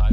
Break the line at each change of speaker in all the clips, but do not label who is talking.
I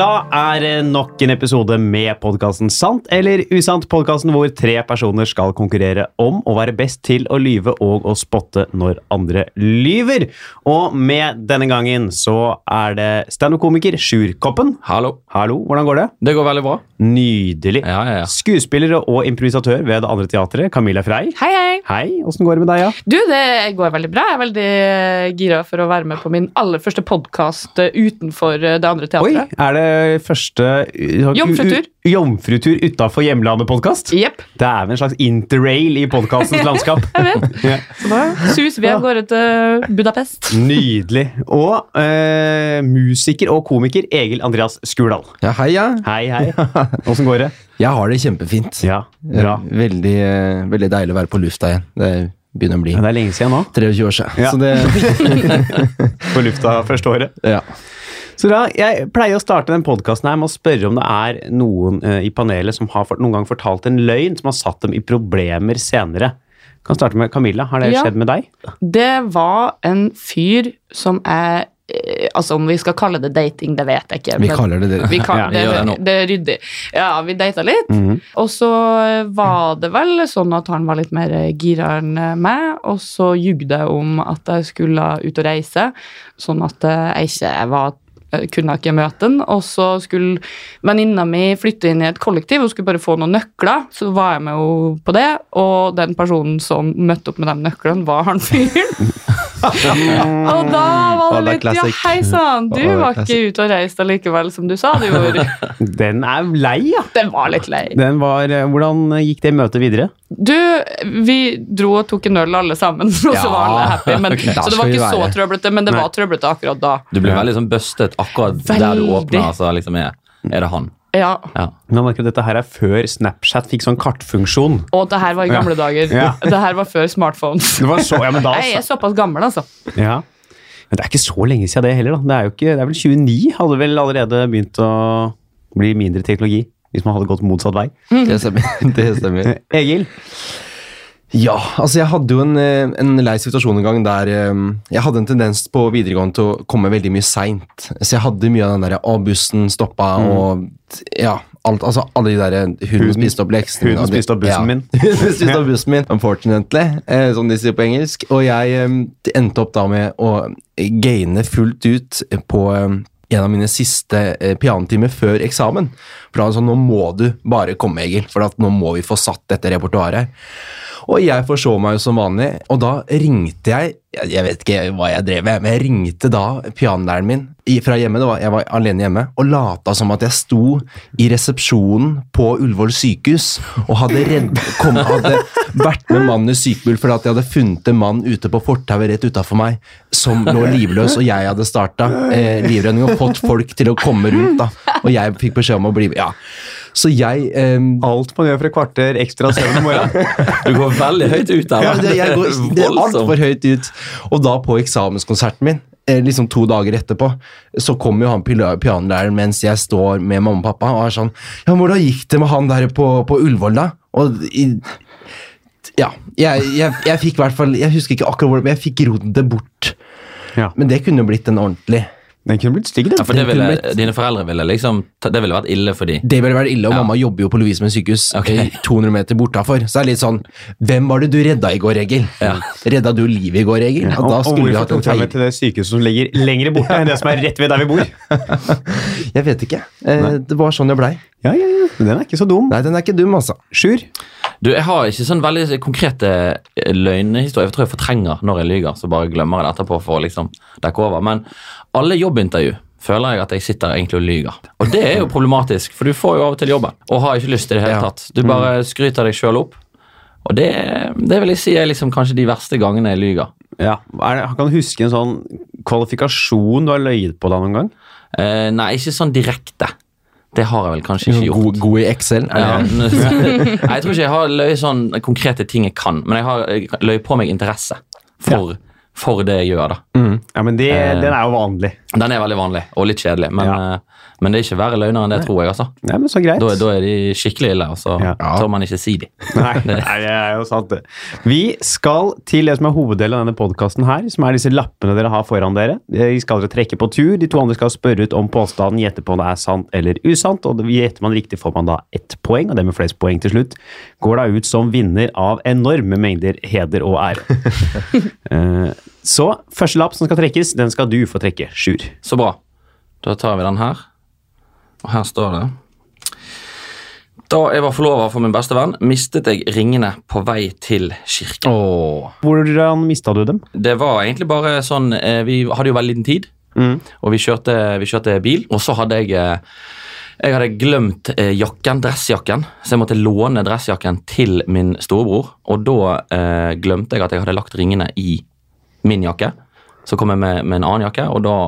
Da er det nok en episode med podkasten Sant eller usant. Podkasten hvor tre personer skal konkurrere om å være best til å lyve og å spotte når andre lyver. Og med denne gangen så er det standup-komiker Sjur Koppen.
Hallo.
Hallo, hvordan går det?
Det går veldig bra.
Nydelig.
Ja, ja, ja.
Skuespiller og improvisatør ved Det andre teatret, Camilla Frey.
Hei, hei.
Hei, åssen går det med deg, ja?
Du, det går veldig bra. Jeg er veldig eh, gira for å være med på min aller første podkast utenfor eh, det andre
Oi,
teatret.
er det første uh,
Jomfrutur.
u- Jomfrutur utafor hjemlandet-podkast?
Jepp.
Det er vel en slags interrail i podkastens landskap.
Jeg vet.
Ja.
Så da suser vi av gårde til Budapest.
Nydelig. Og eh, musiker og komiker Egil Andreas Skurdal.
Ja, hei, ja.
Hei, hei. Åssen går det?
Jeg har det kjempefint.
Ja, bra.
Veldig, eh, veldig deilig å være på lufta igjen. Det begynner å bli
Men det er lenge siden nå.
23 år siden.
Ja.
Så det,
På lufta første året.
ja.
Så da, Jeg pleier å starte den podkasten med å spørre om det er noen eh, i panelet som har fort- noen gang fortalt en løgn som har satt dem i problemer senere. Kan starte med Camilla. Har det
Ja.
skjedd med deg?
Det var en fyr som jeg eh, Altså, om vi skal kalle det dating, det vet jeg ikke.
Vi
men-
kaller det
Vi
det.
kan,
Ja, vi
det,
gjør det
det,
nå. Mhm.
er ryddig. Ja, vi data litt. Og så var det vel sånn at han var litt mer gira enn meg, og så ljugde jeg om at jeg skulle ut og reise, sånn at eh, jeg ikke var eh, kunne ikke møte den, og så skulle venninna mi flytte inn i et kollektiv, hun skulle bare få noen nøkler, så var jeg med henne på det, og den personen som møtte opp med de nøklene, var han fyren. Og da var
Å, det
det
er
litt Ja,
classic.
hei sann, Sånn, du
Å, det er
var ikke ute og reiste allikevel som du sa du gjorde.
Den er lei, ja.
Den var litt lei.
Den var, eh, hvordan gikk det møtet videre?
Du, vi dro og tok en øl alle sammen, og
Ja.
så var alle happy. Men,
Ok, da
så det
skal
var
vi
ikke så
være.
trøblete, men det var trøblete akkurat da.
Du blir veldig sånn bustet akkurat der du åpner. Altså, liksom er, er det han?
Ja,
Ja.
Men merker at Dette her er før Snapchat fikk sånn kartfunksjon.
Og det her var i gamle dager.
Ja.
Det her var før smartphones.
Det var så, ja, men da
Jeg er såpass gammel, altså.
ja. Men det er ikke så lenge siden det heller. da. Det er, jo ikke, det er vel 29 hadde vel allerede begynt å bli mindre teknologi. Hvis man hadde gått motsatt vei.
Det stemmer. Det stemmer.
Egil?
Ja, altså jeg hadde jo en, eh, en lei situasjon en gang der eh, jeg hadde en tendens på videregående til å komme veldig mye seint. Så jeg hadde mye av den derre å, bussen stoppa og ja, alt, altså alle de derre huden
Mm. Huden-
spiste opp leksen.
huden spiste opp bussen min.
Huden spiste opp bussen min, unfortunately, eh, som de sier på engelsk. Og jeg eh, endte opp da med å gaine fullt ut på eh, en av mine siste eh, pianotimer før eksamen. For da var det sånn, nå må du bare komme, Egil, for at nå må vi få satt dette repertoaret her. Og jeg forså meg jo som vanlig, og da ringte jeg Jeg jeg vet ikke hva jeg drev med, men jeg ringte da pianolæreren min i- fra hjemme. Det var, jeg var alene hjemme og lata som at jeg sto i resepsjonen på Ullevål sykehus og hadde, redd, kom, hadde vært med mannen i sykebil fordi at jeg hadde funnet en mann ute på fortauet rett utafor meg som lå livløs, og jeg hadde starta eh, livredning og fått folk til å komme rundt. da Og jeg fikk beskjed om å bli med. Ja. Så jeg eh,
Alt man gjør for et kvarter ekstra søvn om morgenen.
Du går veldig høyt ut der.
Ja, det, jeg går, det er
Voldsomt.
altfor høyt ut. Og da på eksamenskonserten min, eh, liksom to dager etterpå, så kommer jo han pila- pianolæreren mens jeg står med mamma og pappa og er sånn Ja, hvordan gikk det med han der på, på Ullevål, da? Og i, ja, jeg, jeg, jeg fikk i hvert fall Jeg husker ikke akkurat hvordan, men jeg fikk rodd det bort.
Ja.
Men det kunne jo blitt en ordentlig
Den kunne blitt stygg, den.
Ja, for det ville, dine foreldre ville liksom ta- Det ville vært ille for de.
Det ville vært ille, og mamma jobber jo på Lovisenberg sykehus.
Ok.
eh, 200 meter bortafor. Så det er litt sånn Hvem var det du redda i går, Egil? Redda du livet i går, Egil? Ja,
Og,
da
og
skulle vi
hvorfor
hatt en
tok jeg med
feil.
til det sykehuset som ligger lengre borte enn det som er rett ved der vi bor?
Jeg vet ikke. Eh, det var sånn jeg blei.
Ja, ja, ja. Den er ikke så dum.
Nei, den er ikke dum, altså.
Sjur?
Du, Jeg har ikke sånn veldig konkrete eh, løgnehistorier. Jeg tror jeg fortrenger når jeg lyver, så bare glemmer jeg det etterpå for å liksom dekke over. Men alle jobbintervju føler jeg at jeg sitter egentlig og lyver. Og det er jo problematisk, for du får jo av og til jobben og har ikke lyst til det i det hele
Ja. Mm.
tatt. Du bare skryter deg sjøl opp. Og det, det vil jeg si er liksom kanskje de verste gangene jeg lyver.
Ja. Er det, kan du huske en sånn kvalifikasjon du har løyet på deg noen gang?
Eh, nei, ikke sånn direkte. Det har jeg vel kanskje
Sånn
ikke gjort.
God, god i Excel. er det
Ja.
det?
Nei, eh, jeg tror ikke jeg har løyet sånn konkrete ting jeg kan, men jeg har løyet på meg interesse for for det jeg gjør. da.
Ja, men det, den er jo vanlig.
Den er veldig vanlig og litt kjedelig, men,
Mm. Ja.
eh, men det er ikke verre løgner enn det, tror jeg. altså.
Nei, men så greit.
Da, da er de skikkelig ille, og så
Ja.
tør man ikke si de.
Nei, nei, det er jo sant, det. Vi skal til det som er hoveddelen av denne podkasten her, som er disse lappene dere har foran dere. De skal dere trekke på tur. De to andre skal spørre ut om påstanden, gjette på om det er sant eller usant. Og gjetter man riktig, får man da ett poeng, og det med flest poeng til slutt går da ut som vinner av enorme mengder heder og ære. Eh, Så første lapp som skal trekkes, den skal du få trekke, Sjur.
Så bra. Da tar vi den her. Og her står det Da jeg var forlover for min beste venn, mistet jeg ringene på vei til kirken.
Hvordan mista du dem?
Det var egentlig bare sånn eh, Vi hadde jo veldig liten tid, og vi kjørte, vi kjørte bil. Og så hadde jeg eh, jeg hadde glemt eh, jakken, dressjakken, så jeg måtte låne dressjakken til min storebror. Og da eh, glemte jeg at jeg hadde lagt ringene i min jakke. Så kom jeg med, med en annen jakke, og da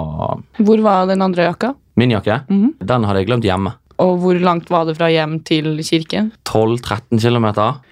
Hvor var den andre jakka?
Min jakke, den hadde jeg glemt hjemme.
Og hvor langt var det fra hjem til kirken?
12-13 km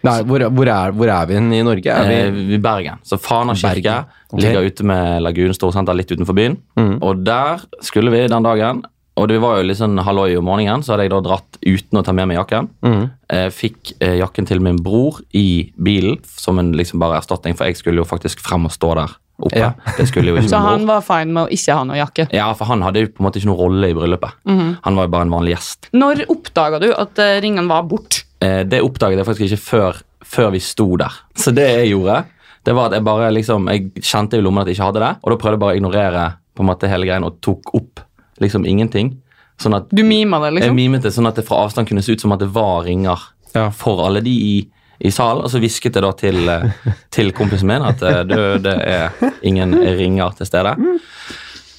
Nei, hvor, hvor, er, hvor er vi hen i Norge? Er vi,
Eh, i Bergen. Så Fana kirke
Bergen, ok. Mm.
ligger ute med Lagunen storsenter litt utenfor byen. Og der skulle vi den dagen. Og det var jo litt sånn halloi om morgenen, så hadde jeg da dratt uten å ta med meg jakken.
Mm.
Eh, Fikk eh, jakken til min bror i bilen som en liksom bare erstatning, for jeg skulle jo faktisk frem og stå der oppe.
Ja.
Det skulle jo ikke
Så
min bror.
han var fine med å ikke ha noe jakke.
Ja, for han hadde jo på en måte ikke noen rolle i bryllupet.
Mhm.
Han var jo bare en vanlig gjest.
Når oppdaga du at eh, ringene var bort?
Eh, det oppdaget jeg faktisk ikke før, før vi sto der. Så det jeg gjorde, det var at jeg bare liksom, jeg kjente i lommen at jeg ikke hadde det, og da prøvde jeg bare å ignorere på en måte hele greien og tok opp liksom ingenting. Sånn at
Du mima det,
jeg
liksom?
mimet det sånn at det fra avstand kunne se ut som at det var ringer
Ja.
for alle de i, i salen, og så hvisket jeg da til, eh, til kompisen min at eh, du, det er ingen ringer til stede.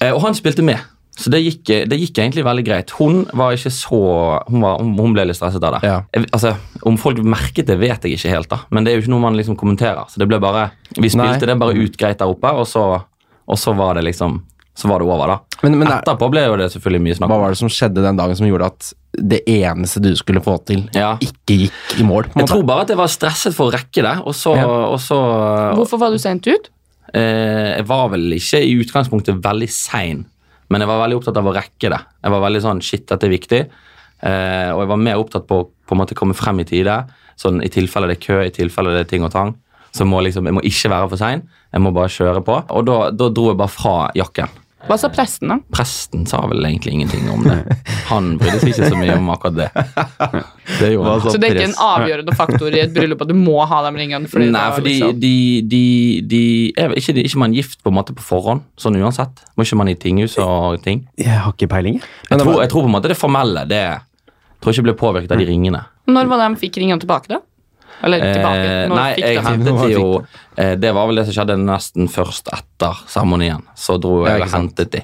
Eh, Og han spilte med. Så det gikk, eh, det gikk egentlig veldig greit. Hun var ikke så Hun, var, hun- hun ble litt stresset av det.
Ja.
Jeg, altså, Om folk merket det, vet jeg ikke helt, da. men det er jo ikke noe man liksom kommenterer. Så det ble bare Vi
Nei.
spilte det bare ut greit der oppe, og så, og så var det liksom Så var det over, da.
Men- men det er-
Etterpå ble jo det selvfølgelig mye snakk
hva
om.
var det som skjedde den dagen som gjorde at det eneste du skulle få til,
Ja.
ikke gikk i mål? På en
Jeg
måte?
tror bare at jeg var stresset for å rekke det, og så,
Ja.
og så
Hvorfor var du sendt ut?
eh, Jeg var vel ikke i utgangspunktet veldig sein, men jeg var veldig opptatt av å rekke det. Jeg var veldig sånn Shit, dette er viktig. Eh, og jeg var mer opptatt på å på en måte komme frem i tide. Sånn i tilfelle det er kø, i tilfelle det er ting og tang. Så må liksom, jeg må ikke være for sein. Jeg må bare kjøre på. Og da, da dro jeg bare fra jakken.
Hva sa presten, da?
Presten sa vel egentlig ingenting om det. Han brydde seg ikke så mye om akkurat det. Det gjorde han.
Så det er ikke en avgjørende faktor i et bryllup at du må ha de ringene? Fordi det
Nei,
var
fordi
liksom-
de, de, de er vel ikke, de, ikke man gift på en måte på forhånd, sånn uansett. Må ikke man i tinghus og ting.
Jeg har ikke peiling. jeg.
Jeg
Men det
tror,
var-
jeg tror på en måte det formelle, det tror jeg ikke ble påvirket av de ringene.
Mm.
Når var det de fikk ringene tilbake, da? Eller tilbake?
Eh,
Når
nei,
fikk
jeg
de dem?
hentet
Når
de
fikk
jo eh, Det var vel det som skjedde nesten først etter seremonien. Så dro
Ja,
jeg
ikke
og
sant.
hentet de.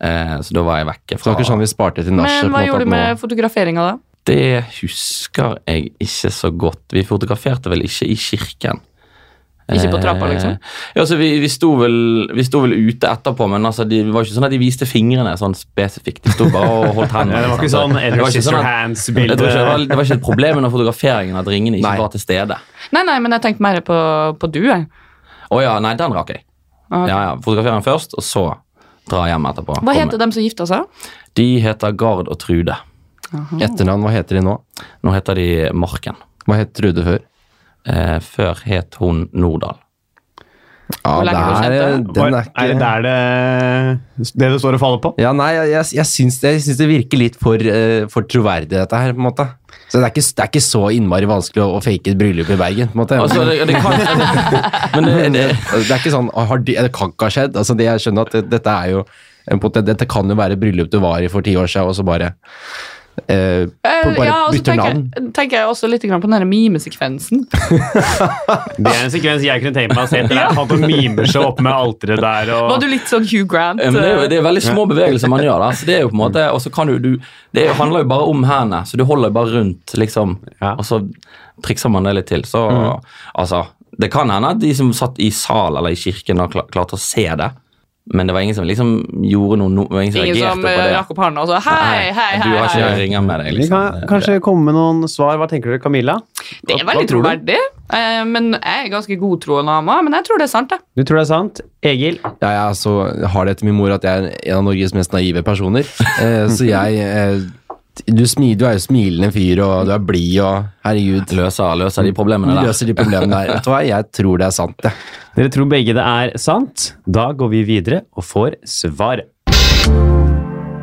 Eh, så da var jeg vekke
Det
fra
var ikke sånn vi sparte til nachet. på
Men
en
hva
måte,
gjorde
at
du
nå-
med fotograferinga da?
Det husker jeg ikke så godt. Vi fotograferte vel ikke i kirken.
Ikke på trappa,
Eh,
liksom?
Ja, altså, vi, vi, sto vel, vi sto vel ute etterpå, men altså, de, det var ikke sånn at de viste fingrene sånn spesifikt. De sto bare og holdt hendene.
Ja, det var
liksom.
ikke sånn
Det var
Edward
ikke sånn at- jeg
Sisterhands-bilde.
tror ikke det, var, det var ikke et problem under fotograferingen at ringene ikke
Nei.
var til stede.
Nei, nei, men jeg tenkte mer på, på du, jeg.
Å ja, nei, den rakk jeg.
Ah, ok.
Ja, ja, Fotografere den først, og så dra hjem etterpå.
Hva heter dem som gifta seg?
De heter Gard og Trude.
Etternavn, hva heter de nå?
Nå heter de Marken.
Hva het Trude før?
Eh, før het hun Nordahl.
Ja,
Hvor lenge
det er,
du
den er
Er det
ikke
der det, det det står og faller på?
ja, nei, jeg, jeg, jeg, syns det, jeg syns det virker litt for, eh, for troverdig, dette her. på en måte. Så Det er ikke, det er ikke så innmari vanskelig å, å fake et bryllup i Bergen. på en måte.
Altså, det, det kan, men det,
Men
det,
det, det er ikke sånn «Å, har de, Det kan ikke ha skjedd. Altså, det, jeg skjønner at det, dette er jo en poten- Dette kan jo være et bryllup du var i for ti år siden, og så bare, eh,
Eh,
bare
og så
bytter
tenker,
navn.
jeg- tenker jeg også litt grann på den der mimesekvensen.
Det er en sekvens jeg kunne tenkt meg å se etter. der. Han som mimer seg opp med alteret der.
Var
Og...
du litt sånn Hugh Grant?
Ja, men det, er jo,
eh?
det er veldig små bevegelser man gjør. da, så det er jo på en måte, og så kan du, du Det handler jo bare om hendene, så du holder jo bare rundt, liksom.
Ja. Mhm.
Og så trikser man det litt til. Så altså Det kan hende at de som satt i sal eller i kirken, har kla- klart å se det. Men det var ingen som liksom gjorde noe, no, det var ingen som
Ingen
reagerte
som
på
eh,
det.
rakk opp hånda og sa hei, hei,
Du
hei.
har ikke
hei.
noen ringer med deg,
Vi
liksom.
kan kanskje komme med noen svar. Hva tenker dere, Camilla?
Det er
Hva-
veldig
hva tror du?
troverdig. Eh, Men jeg er ganske godtroende av meg, men jeg tror det er sant, jeg.
Du tror det er sant? Egil?
Ja, jeg altså, har det etter min mor at jeg er en av Norges mest naive personer. Eh, så jeg eh, du, smi- du er jo smilende fyr, og du er blid, og herregud.
Løser, løser de
Du
problemene der.
løser de problemene der. Vet du hva, jeg tror det er sant, jeg.
Dere tror begge det er sant? Da går vi videre og får svaret.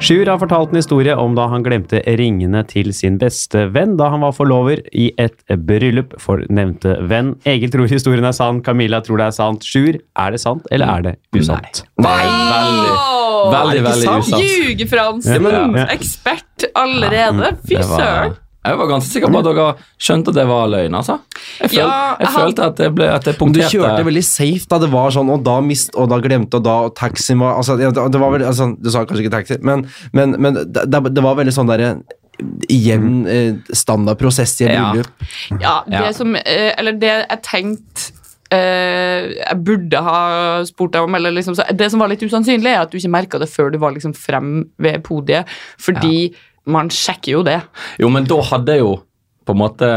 Sjur har fortalt en historie om da han glemte ringene til sin beste venn da han var forlover i et bryllup for nevnte venn. Egil tror historien er sann, Camilla tror det er sant. Sjur, er det sant eller er det usant?
Nei! Veldig,
Åh,
veldig, veldig usant.
Ljugefransen!
Ja.
Ekspert allerede. Fy
Det
søren.
var, jeg var ganske sikker på at dere skjønte at det var løgn, altså. Jeg, føl,
Ja,
jeg
han-
følte at det, ble, at det
Men du
punkterte
kjørte veldig safe da det var sånn, og da mist, og da glemte, og da og taxien var altså, ja, det var vel, altså, Du sa kanskje ikke taxi, men, men, men det, det var veldig sånn derre jevn eh, standard prosess i et
Mm. Ja.
bryllup.
Ja, det
Ja.
som eh, Eller det jeg tenkte eh, jeg burde ha spurt deg om eller liksom, så Det som var litt usannsynlig, er at du ikke merka det før du var liksom frem ved podiet, fordi man sjekker jo det.
Jo, men da hadde jeg jo på en måte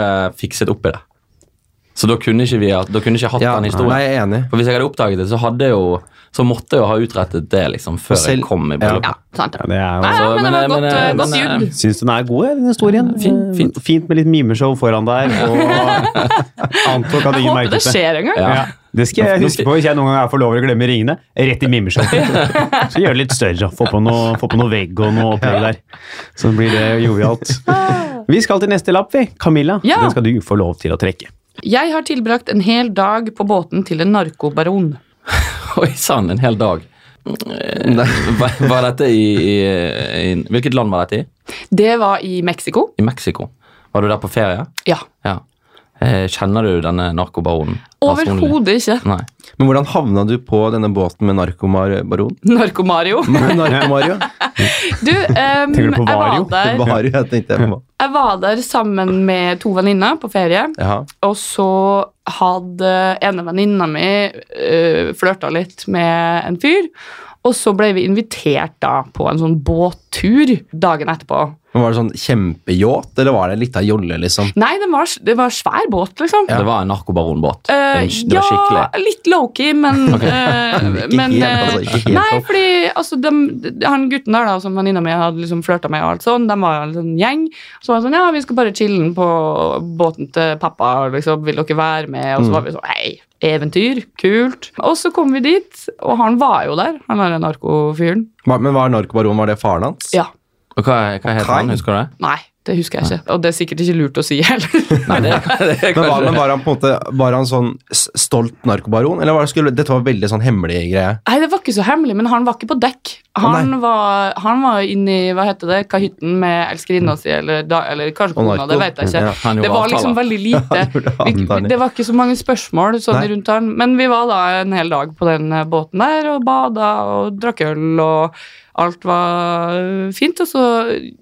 fikset opp i det. Så da kunne ikke vi ha- da kunne ikke jeg hatt
Ja,
den
nei,
historien.
jeg er enig.
For hvis jeg hadde oppdaget det, så, hadde jeg jo, så måtte jeg jo ha utrettet det liksom, før
selv-
jeg kom
Ja,
i bryllupet.
sant.
Ja, det er
Nei,
jo
altså,
men det
men,
var
men,
godt, eh,
men,
godt
eh,
jugd.
Syns den er god, den historien.
Fint, fint.
Eh, fint med litt mimeshow foran der. Og antok at
Jeg
ingen
håper det
merket det.
skjer en gang.
Ja.
Ja, det skal jeg huske på hvis jeg noen gang er for lov å glemme ringene. Rett i mimmershop. Så gjør det litt større. Få på noe, få på noe vegg og noe opplegg der. Så blir det jovialt. Vi skal til neste lapp, vi. Camilla,
Ah. Ja.
den skal du få lov til å trekke.
Jeg har tilbrakt en hel dag på båten til en narkobaron.
Oi sann, en hel dag. Eh, Var, var dette i, i, i Hvilket land var dette i?
Det var i Mexico.
I Mexico. Var du der på ferie?
Ja.
Ja. Eh, Kjenner du denne narkobaronen? personlig?
Overhodet ikke.
Nei.
Men hvordan havna du på denne båten med narkomaron?
Narkomario.
Narkomario?
Du, ehm,
Tenker du på
jeg var
Vario?
der
Vario, jeg tenkte jeg på.
Jeg var der sammen med to venninner på ferie,
Jaha.
og så hadde ene venninna mi øh, flørta litt med en fyr, og så ble vi invitert da på en sånn båttur dagen etterpå.
Men Var det sånn kjempeyacht, eller var det litt av jolle, liksom?
Nei, det var, det var svær båt, liksom.
Det var en narkobaronbåt.
Eh,
det, var- det var skikkelig.
ja, litt lowkey, men, eh,
Ikke
men
helt,
eh,
altså, ikke helt
Nei,
opp.
fordi altså, dem- de, han gutten der da, som venninna mi hadde liksom flørta med, og alt sånn, de var jo en sånn gjeng. Så var det sånn, ja, vi skal bare chille'n på båten til pappa, liksom, vil dere være med?
Mm.
Og så var vi sånn, hei, eventyr, kult. Og så kom vi dit, og han var jo der, han der narkofyren.
Hva- Men var narkobaron, var det faren hans?
Ja,
Og hva, hva het
Kai?
han, husker du det?
nei, det husker jeg ikke, og det er sikkert ikke lurt å si heller.
Nei, det, det er
Men var,
kanskje-
men var han på en måte Var han sånn s- stolt narkobaron, eller var det skulle, dette var veldig sånn hemmelig greie?
Nei, det var ikke så hemmelig, men han var ikke på dekk. Han
nei.
var, han var inni, hva heter det, kahytten med elskerinna si, eller, da, eller kanskje
Og
kona, det
narko.
vet jeg ikke.
Ja,
han gjorde
det var
avtaler.
liksom veldig
Han
lite.
gjorde
Vi,
avtaler.
det var ikke så mange spørsmål sånn
Nei.
rundt han, men vi var da en hel dag på den eh, båten der, og bada og drakk øl, og alt var eh, fint, og så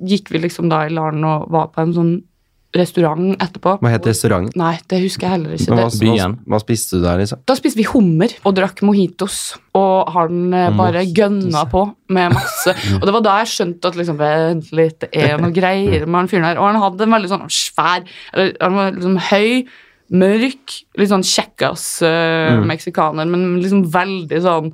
gikk vi liksom da i LAN og var på en sånn restaurant etterpå.
Hva het restauranten?
Nei, det husker jeg heller ikke.
Men
Det,
Hva, hva,
Byen.
hva spiste du der, liksom?
da spiste vi hummer og drakk mojitos, og han eh, bare gønna på med masse. Og det var da jeg skjønte at liksom, vent litt, det er noe greier med han fyren her. Og han hadde en veldig sånn svær eller, Han var liksom høy, mørk, litt sånn kjekkas-meksikaner, men liksom veldig sånn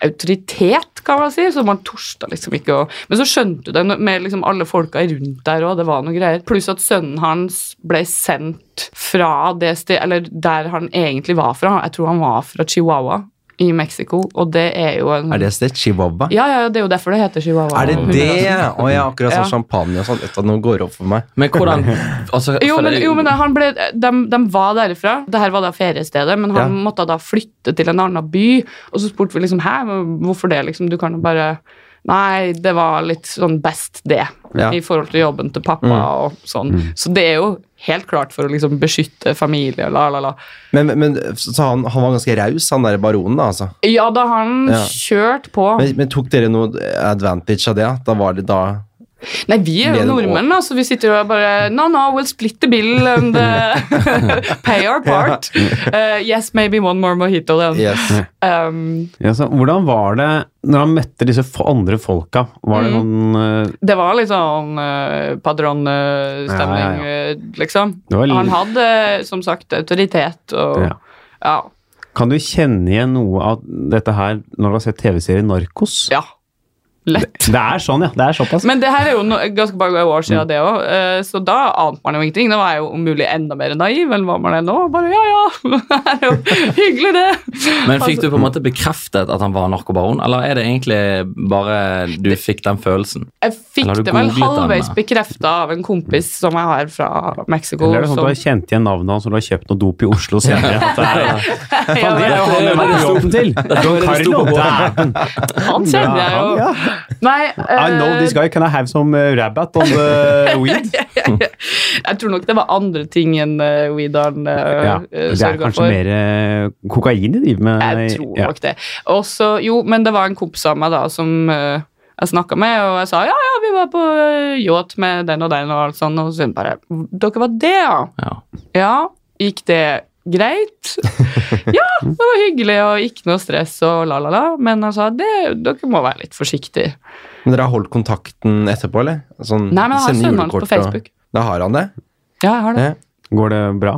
autoritet, kan man si. Så man torsta liksom ikke å Men så skjønte du det når- med liksom alle folka rundt der òg, det var noe greier. Pluss at sønnen hans ble sendt fra det stedet Eller der han egentlig var fra. Jeg tror han var fra Chihuahua i Mexico, og det er jo en
Er det et sted? Chihuahua?
Ja, ja, det er jo derfor det heter Chihuahua.
Er det det? Å ja, akkurat sånn
Ja.
champagne og sånn. Vet du, nå går det opp for meg.
Men hvordan altså,
Jo,
for
men,
det-
jo, men han ble, de, de var derifra. Dette var da feriestedet, men
Ja.
han måtte da flytte til en annen by. Og så spurte vi liksom Hæ, hvorfor det? liksom, Du kan jo bare Nei, det var litt sånn best det,
Ja. Mm.
i forhold til jobben til pappa og sånn. Så det er jo helt klart for å liksom beskytte familie, la, la, la.
Men, men så han, han var ganske raus, han der baronen, da, altså.
Ja, da han
Ja.
kjørte på
Men, men tok dere noe advantage av det? Da var det da
Nei, vi er jo
Mellom-
nordmenn, da, så vi sitter jo og bare No, no, we'll split the bill and uh, pay our part. Uh, yes, maybe one more mojito then.
Yes.
Um,
Ja, så, hvordan var det når han møtte disse fo- andre folka? Var det
Mm.
noen eh,
det var litt sånn uh,
Ja,
padron-stemning,
ja,
liksom.
Det var litt-
Han hadde eh, som sagt autoritet og
Ja.
ja. Ja.
Kan du kjenne igjen noe av dette her når du har sett TV-serien Narkos?
Lett.
Det er sånn, ja. Det er såpass.
Men det her er jo no ganske mange år
Mm.
siden det òg, så da ante man jo ingenting. Da var jeg jo om mulig enda mer naiv enn hva man er nå. Bare ja, ja, det er jo hyggelig, det.
Men fikk du på en
altså-
måte bekreftet at han var narkobaron, eller er det egentlig bare du fikk den følelsen?
Jeg fikk
Eller har du
det vel
googlet
halvveis
den, da?
bekrefta av en kompis som jeg har fra Mexico.
Eller er det sånn at du har
som-
kjent igjen navnet hans og du har kjøpt noe dop i Oslo senere? At det er,
Ja,
Faen, det er jo han jeg var i jobben til! Don Carlo, dæven!
Han kjenner jeg jo.
Ja,
Nei,
I know this
eh,
guy can I have some eh, rabbit on the uh, weed?
jeg tror nok det var andre ting enn uh, Weedan
Ja,
uh,
det er
sørga
kanskje
for.
mer eh, kokain de driver med?
Jeg tror
Ja.
nok det. Også, jo, men det var en kompis av meg da som eh, jeg snakka med, og jeg sa ja, ja, vi var på eh, yacht med den og den, og alt sånt, og så hun bare Dere var det, ja?
Ja.
Ja, gikk det greit? Ja, det var hyggelig og ikke noe stress og la, la, la. Men han sa det, dere må være litt forsiktige.
Men dere har holdt kontakten etterpå, eller? Sånn,
Nei, men jeg har
sende
sønnen hans på
julekort og-
Facebook.
Da har han det?
Ja, jeg har det.
Ja.
Går det bra?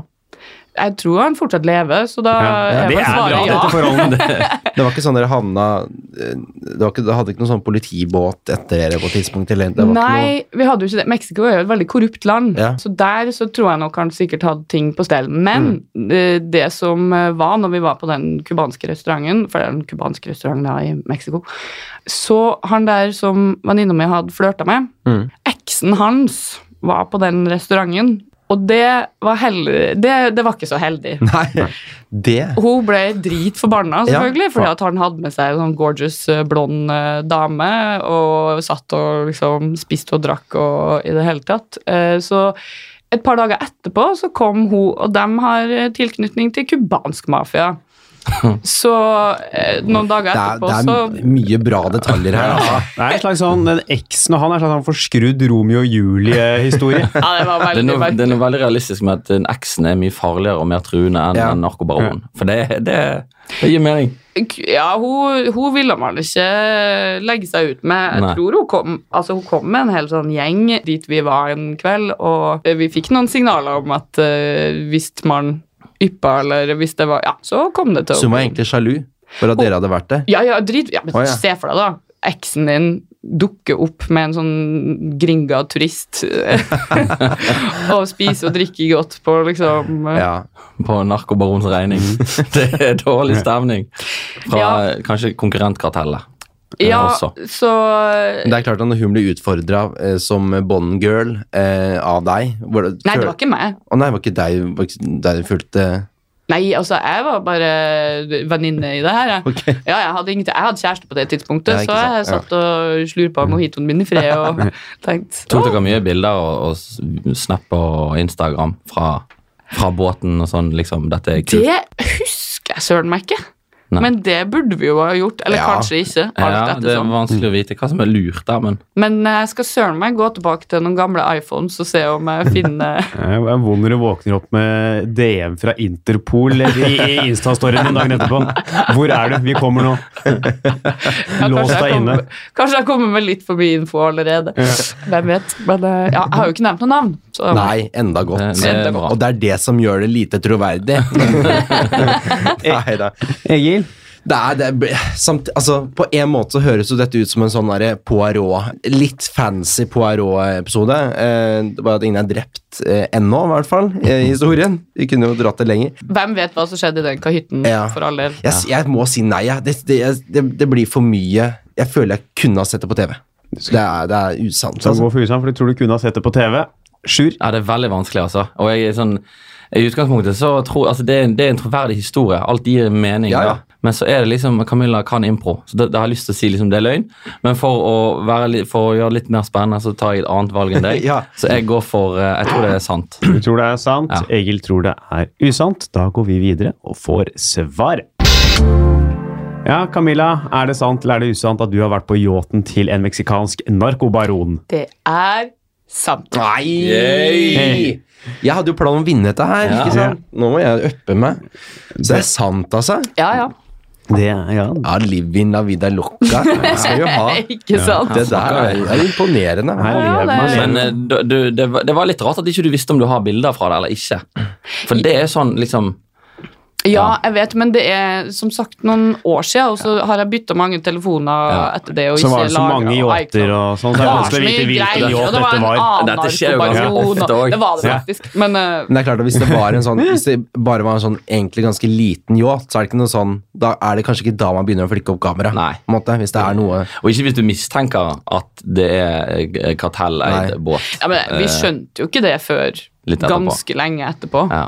Jeg tror han fortsatt lever, så da
Ja,
jeg
det
bare
er
svarer
bra,
ja.
dette forholdet.
Det var ikke sånn dere havna eh, Det, var ikke, det hadde ikke noen sånn politibåt etter dere på et tidspunkt? Eller, det var Ikke
Nei, vi hadde jo ikke det. Mexico er jo et veldig korrupt land,
Ja.
så der så tror jeg nok han sikkert hadde ting på stell. Men
Mm.
eh, det som eh, var når vi var på den kubanske restauranten, for det er en kubansk restaurant da i Mexico, så han der som venninna mi hadde flørta med,
Mm.
eksen hans var på den restauranten, og det var, heller, det, det var ikke så heldig.
noe, nei. Det
Hun ble dritforbanna,
Ja.
selvfølgelig, fordi at han hadde med seg en sånn gorgeous eh, blond eh, dame og satt og liksom spiste og drakk og i det hele tatt. Eh, Så et par dager etterpå så kom hun, og dem har eh, tilknytning til cubansk mafia. Så eh, noen dager
det er,
etterpå
det
så
er mye bra detaljer her, altså.
Det er en slags sånn, den Eksen og han er en slags sånn forskrudd Romeo og Julie-historie.
Ja, det var
Det er,
veldig
noe, det er noe veldig realistisk med at den eksen er mye farligere og mer truende enn
Ja.
en narkobaron. For det, det, det gir mening.
Ja, hun, hun ville man ikke legge seg ut med. Jeg
Nei.
tror hun kom, altså hun kom med en hel sånn gjeng dit vi var en kveld, og eh, vi fikk noen signaler om at eh, hvis man yppa, eller hvis det var Ja, så kom det til
Så hun var egentlig sjalu for at dere hadde vært det.
Ja, ja, drit ja, men
Å, ja.
Se for deg, da. Eksen din dukker opp med en sånn gringa turist eh, og spiser og drikker godt på liksom eh,
Ja.
På narkobarons regning. Det er dårlig stemning fra
Ja.
kanskje konkurrentkartellet. eh,
ja
også.
så
Men det er klart at når hun ble utfordra eh, som Bond-girl eh, av deg hvor,
Nei, det var ikke meg.
Å nei, det var ikke deg, var ikke deg du fulgte
Nei, altså, jeg var bare venninne i det her. Jeg.
Ok.
Ja, jeg, hadde ingenting- jeg hadde kjæreste på det tidspunktet,
Ja, ikke
så jeg
sant,
satt og slurpa mojitoen min i fred og tenkte
Tok dere mye bilder og, og s- Snap og Instagram fra, fra båten og sånn? liksom, Dette er kult.
Det husker jeg søren meg ikke.
Nei.
Men det burde vi jo ha gjort. Eller
Ja.
kanskje ikke. alt
Ja,
etter
det er
sånn.
vanskelig å vite hva som er lurt der, men
Men jeg skal søren meg gå tilbake til noen gamle iPhones og se om jeg finner
Jeg er Eh, vond når du våkner opp med DM fra Interpol i i Insta-storyen din dagen etterpå. Hvor er du? Vi kommer nå.
Ja,
Lås
kanskje jeg
deg inne.
kommer- Kanskje jeg kommer med litt for mye info allerede. Hvem vet. Men eh, ja, jeg har jo ikke nevnt noe navn. Så.
Nei, enda godt.
det, eh, det er bra.
Og det er det som gjør det lite troverdig. Neida.
Egil?
Det er, det er, samt, altså, på en måte så høres jo dette ut som en sånn derre Poirot Litt fancy Poirot-episode. Eh, det er bare at ingen er drept eh, ennå, i hvert fall, eh, i historien. Vi kunne jo dratt det lenger.
Hvem vet hva som skjedde i den kahytten,
Ja.
for all del.
Jeg, s- jeg må si nei. Jeg, det, det, jeg, det, det blir for mye. Jeg føler jeg kunne ha sett det på TV. Det er, det er usant.
Så
Altså.
gå for Usan, for du tror du kunne ha sett det på TV. Sjur?
Ja, det er veldig vanskelig, altså. Og jeg er sånn, I utgangspunktet så tror altså det, er en, det er en troverdig historie. Alt gir mening.
Ja, ja.
da. Men så er det liksom Camilla kan impro, så da, da har jeg lyst til å si liksom det er løgn. Men for å, være, litt- for å gjøre det litt mer spennende, så tar jeg et annet valg enn deg.
Ja.
Så jeg går for eh, Jeg tror det er sant.
Du tror det er sant.
Ja.
Egil tror det er usant. Da går vi videre og får svar. Ja, Camilla, er det sant eller er det usant at du har vært på yachten til en meksikansk narkobaron?
Det er sant.
Nei!
Yay!
Jeg hadde jo planen om å vinne dette her.
Ja.
ikke sant? Nå må jeg uppe meg. Så det er sant, altså.
Ja, ja.
Det, ja.
Ja, Livin la vida loca. Jeg Skal jo ha.
Ikke sant?
Det der er, det er imponerende.
Her
Ja,
lever man.
det-
lever.
Men eh, du, du, det, var, det var litt rart at ikke du visste om du har bilder fra det eller ikke. For det er sånn liksom
Ja, jeg vet, men det er som sagt noen år siden, og så har jeg bytta mange telefoner
Ja.
etter det. Og
Så var
ikke
det så
lagret
mange yachter
iCloud.
og sånn, så
Det
det er
var så
vanskelig å
mye
vite
greier,
hvilken
og
yacht
det var
dette
en
var.
annen
Dette skjer jo ganske
narkobaron,
ofte
og-
også.
Det var det
Ja.
faktisk. Men eh,
Men det er klart at hvis det var en sånn Hvis det bare var en sånn egentlig ganske liten yacht, så er det ikke noe sånn Da er det kanskje ikke da man begynner å flikke opp kamera.
Nei.
på en Måte, hvis det er noe
Og ikke hvis du mistenker at det er eh, kartelleid
Nei.
båt.
ja, men vi skjønte jo ikke det før
litt etterpå.
ganske lenge etterpå.
Ja.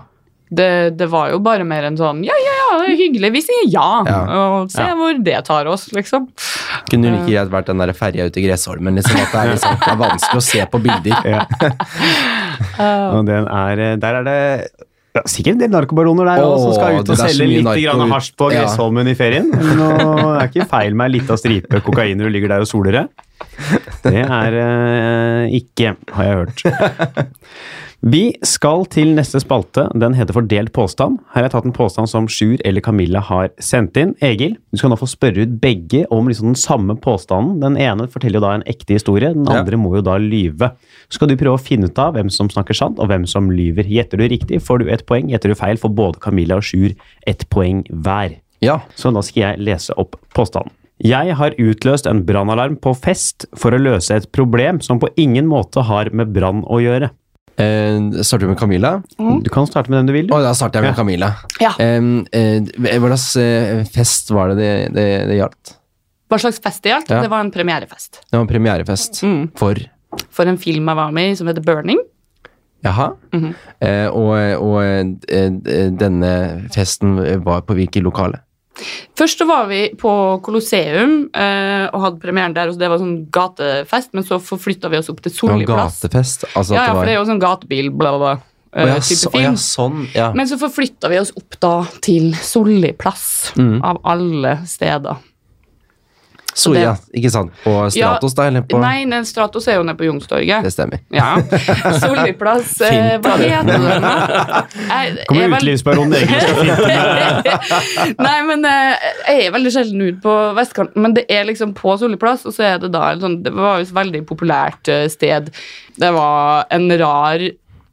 Det, det var jo bare mer en sånn ja, ja, ja, det er hyggelig, vi sier ja. Og se hvor det tar oss, liksom.
Kunne like greit vært den der ferja ute i Gressholmen. Liksom, at det er, liksom, det er vanskelig å se på bilder.
Og den er, eh, der er det ja, sikkert en del narkobaroner der
Åh,
også, som skal ut og
det er så
selge
mye
litt
narko
grann
ut.
hasj på
Ja.
Gressholmen i ferien. Nå er ikke feil med ei lita stripe kokain når du ligger der og soler deg. Det er eh, ikke, har jeg hørt. Vi skal til neste spalte. Den heter for delt påstand. Her har jeg tatt en påstand som Sjur eller Camilla har sendt inn. Egil, du skal nå få spørre ut begge om liksom den samme påstanden. Den ene forteller jo da en ekte historie, den
Ja.
andre må jo da lyve. Så skal du prøve å finne ut av hvem som snakker sant, og hvem som lyver. Gjetter du riktig, får du ett poeng. Gjetter du feil, får både Camilla og Sjur ett poeng hver.
Ja.
Så da skal jeg lese opp påstanden. Jeg har utløst en brannalarm på fest for å løse et problem som på ingen måte har med brann å gjøre.
Eh, starter vi med Camilla?
Du kan starte med den du vil. du.
Og da starter jeg med Camilla.
Ja.
Eh, eh, hva slags eh, fest var det det, det, det gjaldt?
Hva slags fest det gjaldt?
Ja.
Det var en premierefest
Det var en premierefest. For
for en film jeg var med i som heter Burning.
Jaha.
Mhm.
eh, og og eh, eh, denne festen var på hvilket lokale?
Først så var vi på Colosseum eh, og hadde premieren der, og så det var sånn gatefest, men så forflytta vi oss opp til
Det var
Solli plass.
gatefest? Altså
Ja,
at
ja, for det
det
er
var
jo sånn gatebil, bla, bla, bla. eh,
Å ja, så-
type
å ja,
film.
sånn. Ja.
Men så forflytta vi oss opp da til Solli plass,
Mm.
av alle steder.
så,
det-
ja, ikke sant? På Stratos, da? Eller på
Nei, nei, Stratos er jo nede på
Det
Youngstorget.
stemmer.
Ja. Solli plass eh, Hva heter den, da? Jeg-
Kommer
jeg er vel-
utelivsbaronen Egil skal finne
Nei, men eh, jeg er veldig sjelden ute på vestkanten, men det er liksom på Solli plass, og så er det da en sånn Det var jo et veldig populært eh, sted. Det var en rar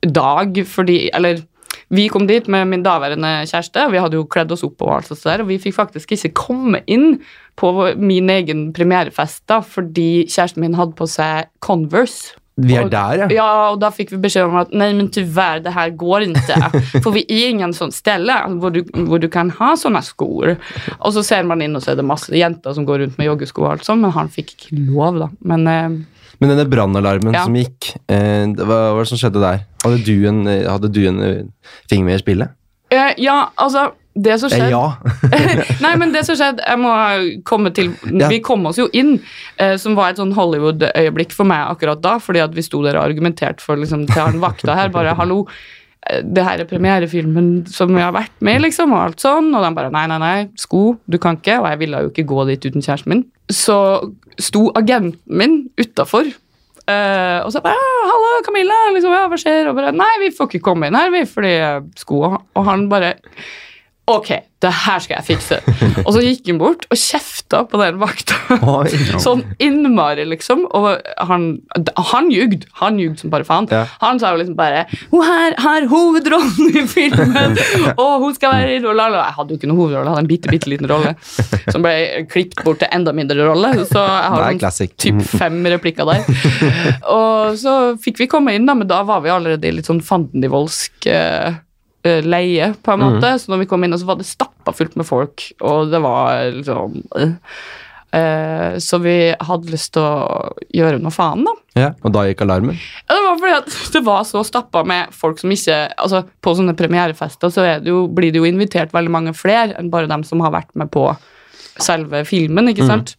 dag fordi Eller vi kom dit med min daværende kjæreste, og vi hadde jo kledd oss opp og alt sånt der, og vi fikk faktisk ikke komme inn på vår- min egen premierefest da, fordi kjæresten min hadde på seg Converse.
Vi er
Og-
der, ja.
Ja, og da fikk vi beskjed om at nei, men tyvärr, det her går ikke. For vi er ingen sånn stelle hvor du, hvor du kan ha sånne skor. Og så ser man inn, og så er det masse jenter som går rundt med joggesko og alt sånt, men han fikk ikke lov, da. Men eh,
Men denne brannalarmen
Ja.
som gikk, eh, det- hva var det som skjedde der? Hadde du en, eh, hadde du en eh, finger med i spillet?
eh, ja, altså det som
Eh,
skjedde
ja.
Nei, men det som skjedde Jeg må komme til
Ja.
Vi kom oss jo inn, eh, som var et sånn Hollywood-øyeblikk for meg akkurat da, fordi at vi sto der og argumenterte for liksom, til han vakta her, bare 'hallo'. eh, Det her er premierefilmen som jeg har vært med i, liksom, og alt sånn. Og de bare nei, nei, nei, sko, du kan ikke. Og jeg ville jo ikke gå dit uten kjæresten min. Så sto agenten min utafor Eh, og så bare «Ja, 'Halla, Camilla, liksom, ja, hva skjer?' Og bare 'Nei, vi får ikke komme inn her, vi, fordi eh, sko Og og han bare 'Ok, det her skal jeg fikse'. og så gikk han bort og kjefta på den vakta.
Oi.
sånn innmari, liksom. Og han, han jugde. Han jugde som bare faen.
Ja.
Han sa jo liksom bare 'Hun her har hovedrollen i filmen', og hun skal være i rolla. Og jeg hadde jo ikke noen hovedrolle, jeg hadde en bitte, bitte liten rolle som ble klippet bort til enda mindre rolle. Så jeg har
Det er
sånn
classic. Mm.
typ fem replikker der. Og så fikk vi komme inn, da, men da var vi allerede i litt sånn fandenivoldsk eh, eh, leie, på en måte.
Mm.
Så når vi kom inn, så var det stappa fullt med folk, og det var liksom eh. Eh, Så vi hadde lyst til å gjøre noe faen, da.
Ja, og da gikk alarmen?
Ja, Det var fordi at det var så stappa med folk som ikke altså På sånne premierefester så er det jo, blir det jo invitert veldig mange flere enn bare dem som har vært med på selve filmen, ikke sant.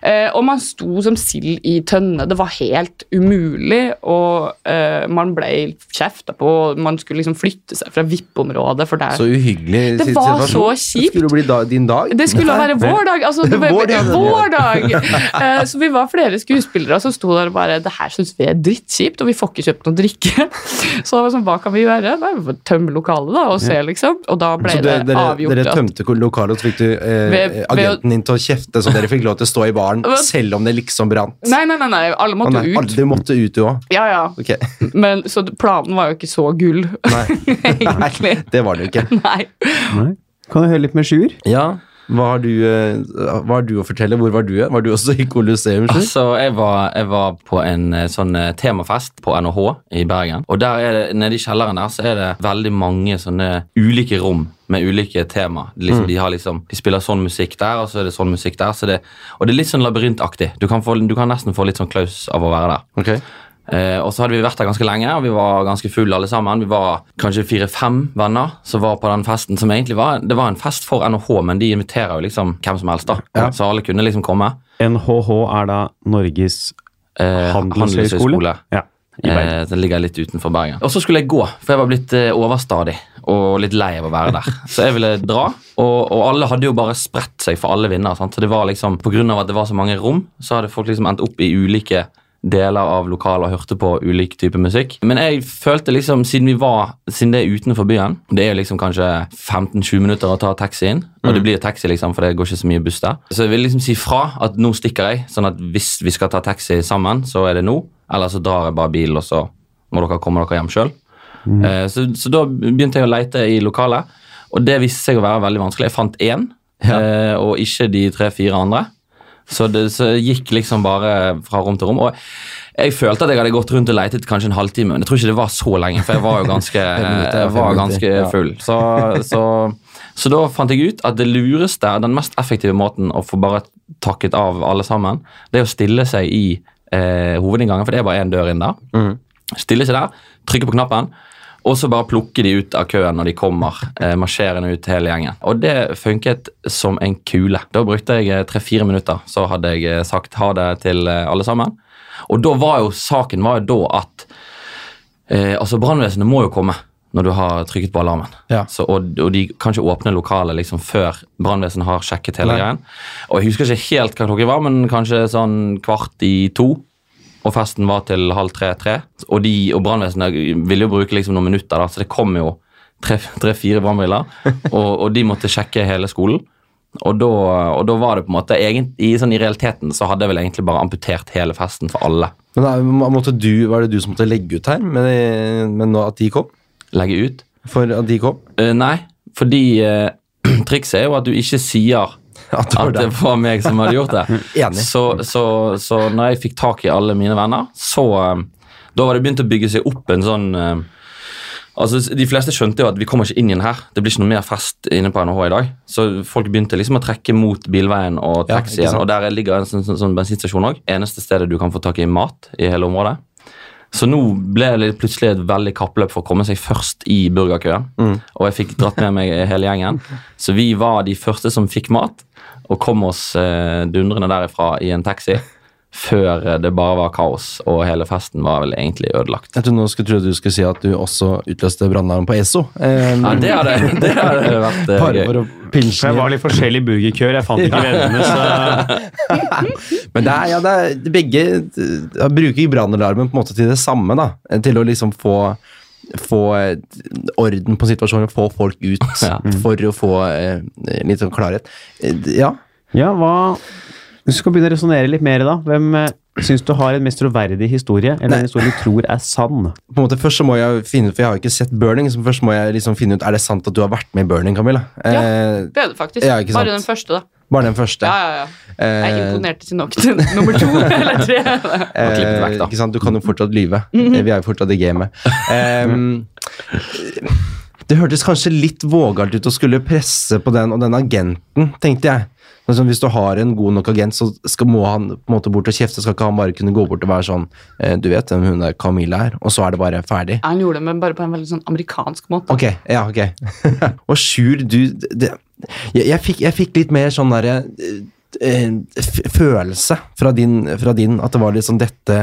Eh, og man sto som sild i tønne. Det var helt umulig, og eh, man ble kjefta på, og man skulle liksom flytte seg fra VIP-området, for der
Så uhyggelig
Det
sit-
var
situasjon.
så kjipt.
Det skulle bli da, din dag.
det skulle være vår dag! Altså, det var,
Vår dag, ja.
vår dag. Eh, Så vi var flere skuespillere som sto der og bare Det her syns vi er drittkjipt, og vi får ikke kjøpt noe drikke. Så det var sånn, hva kan vi gjøre? Bare tømme lokalet da, og se, liksom. Og da ble
Så
det
dere, dere,
avgjort.
dere
at-
tømte lokalet, og så fikk du eh,
Ved- ved å-
agenten din til å kjefte, så dere fikk lov til å stå i baren
Hva?
selv om det liksom brant.
Nei, nei, nei, nei, alle
Å,
måtte
nei,
ut.
alle- Du måtte ut, du òg.
Ja, ja.
Ok.
Men, så planen var jo ikke så gull,
Nei,
egentlig.
det var det jo ikke.
Nei.
Nei. Kan du høre litt med Sjur?
Ja, hva har du, eh, hva har du å fortelle? Hvor var du? Var du også i Colosseum? Sjur?
Altså, jeg var, jeg var på en eh, sånn eh, temafest på NHH i Bergen. Og der er det, nede i kjelleren der så er det veldig mange sånne ulike rom med ulike tema. Det
Mm.
Liksom, de, har liksom, de spiller sånn musikk der, og så er det sånn musikk der. Så det, og det er litt sånn labyrintaktig. Du kan, få, du kan nesten få litt sånn klaus av å
Ah.
være der.
Ok.
Eh, og så hadde vi vært der ganske lenge, og vi var ganske fulle alle sammen. Vi var kanskje fire-fem venner som var på den festen som egentlig var Det var en fest for NHH, men de inviterer jo liksom hvem som helst, da. Så alle kunne liksom komme.
NHH er da Norges
Eh,
handelshøyskole. Ja, i Bergen.
Eh, den ligger litt utenfor Bergen. Og så skulle jeg gå, for jeg var blitt eh, overstadig og litt lei av å være der. Så jeg ville dra, og, og alle hadde jo bare spredt seg for alle vinder. Sant? Så det var liksom, På grunn av at det var så mange rom, så hadde folk liksom endt opp i ulike deler av lokalet og hørte på ulik type musikk. Men jeg følte liksom, siden vi var, siden det er utenfor byen, det er jo liksom kanskje 15-20 minutter å ta taxien, og det blir taxi liksom, for det går ikke så mye buss der. Så jeg vil liksom si fra at nå stikker jeg, sånn at hvis vi skal ta taxi sammen, så er det nå. Eller så drar jeg bare bilen, og så må dere komme dere hjem sjøl. Eh, Så, så da begynte jeg å leite i lokalet, og det viste seg å være veldig vanskelig. Jeg fant én, eh, og ikke de tre-fire andre. Så det så jeg gikk liksom bare fra rom til rom. Og jeg følte at jeg hadde gått rundt og leitet kanskje en halvtime, men jeg tror ikke det var så lenge, for jeg var jo ganske,
minutter,
jeg var
fem
ganske
minutter, ja.
full. Så, så, så da fant jeg ut at det lureste, den mest effektive måten å få bare takket av alle sammen, det er å stille seg i eh, hovedinngangen, for det er bare én dør inn der. Stille seg der, trykke på knappen. Og så bare plukke de ut av køen når de kommer, eh, marsjerende ut hele gjengen. Og det funket som en kule. Da brukte jeg eh, tre-fire minutter, så hadde jeg eh, sagt ha det til eh, alle sammen. Og da var jo saken var jo da at eh, altså brannvesenet må jo komme når du har trykket på alarmen.
Ja.
Så, og, og de kan ikke åpne lokalet liksom før brannvesenet har sjekket hele
Nei.
greien. Og jeg husker ikke helt hva klokken var, men kanskje sånn kvart i to. Og festen var til halv tre-tre. Og, de- og brannvesenet ville jo bruke liksom noen minutter, da, så det kom jo tre-fire brannbiler. Og, og de måtte sjekke hele skolen. Og da, og da var det på en måte egent, i, sånn, I realiteten så hadde jeg vel egentlig bare amputert hele festen for alle.
Men da, måtte du, Var det du som måtte legge ut her, men, men nå at de kom?
Legge ut.
For at de kom?
Eh, nei, fordi eh, trikset er jo at du ikke sier
At det var
at det
deg.
var meg som hadde gjort det.
Enig.
Så, så, så når jeg fikk tak i alle mine venner, så eh, Da var det begynt å bygge seg opp en sånn eh, Altså, De fleste skjønte jo at vi kommer ikke inn igjen her. Det blir ikke noe mer fest inne på NHH i dag. Så folk begynte liksom å trekke mot bilveien og
Ja,
taxien.
ikke sant.
og der ligger en sånn, sånn, sånn bensinstasjon òg. Eneste stedet du kan få tak i mat i hele området. Så nå ble det plutselig et veldig kappløp for å komme seg først i burgerkøen.
Mm.
Og jeg fikk dratt med meg hele gjengen. Så vi var de første som fikk mat, og kom oss eh, dundrende derifra i en taxi. Før eh, det bare var kaos, og hele festen var vel egentlig ødelagt.
Jeg trodde nå skulle tro at du skulle si at du også utløste brannalarm på Esso. Eh,
Ja, det hadde, det hadde vært eh,
bare for
gøy.
å pinsje
For jeg
ned.
var litt forskjellig i burgerkøer. Jeg fant ikke vennene, så
Men det er, ja, det er begge eh, bruker brannalarmen på en måte til det samme, da. Eh, Til å liksom få, få eh, orden på situasjonen, få folk ut
Ja.
for å få eh, litt sånn klarhet. Eh, Ja.
Ja, hva Hvis du skal begynne å resonnere litt mer, da. Hvem eh, syns du har en mest troverdig historie, eller en historie du tror er sann?
På en måte Først så må jeg finne ut, for jeg har jo ikke sett Burning, så først må jeg liksom finne ut er det sant at du har vært med i Burning, Camilla.
Ja.
Eh,
Det er det faktisk.
Ja, ikke sant.
Bare den første, da.
bare den første.
Ja, ja, ja. Jeg
Eh,
imponerte ikke nok til nummer to eller tre.
Og klippet
Eh,
vekk, da.
ikke sant? Du kan jo fortsatt lyve. Eh, Vi er jo fortsatt i gamet. Ehm, det hørtes kanskje litt vågalt ut å skulle presse på den og den agenten, tenkte jeg. Men sånn, hvis du har en god nok agent, så skal, må han på en måte bort og kjefte. Skal ikke han bare kunne gå bort og være sånn eh, Du vet hvem hun der Camilla er? Og så er det bare ferdig.
Han gjorde det, men bare på en veldig sånn amerikansk måte.
Ok, ja, ok. og Sjur, du det, Jeg, jeg, fikk, jeg fikk litt mer sånn derre eh, eh, f- følelse fra din, fra din at det var litt sånn dette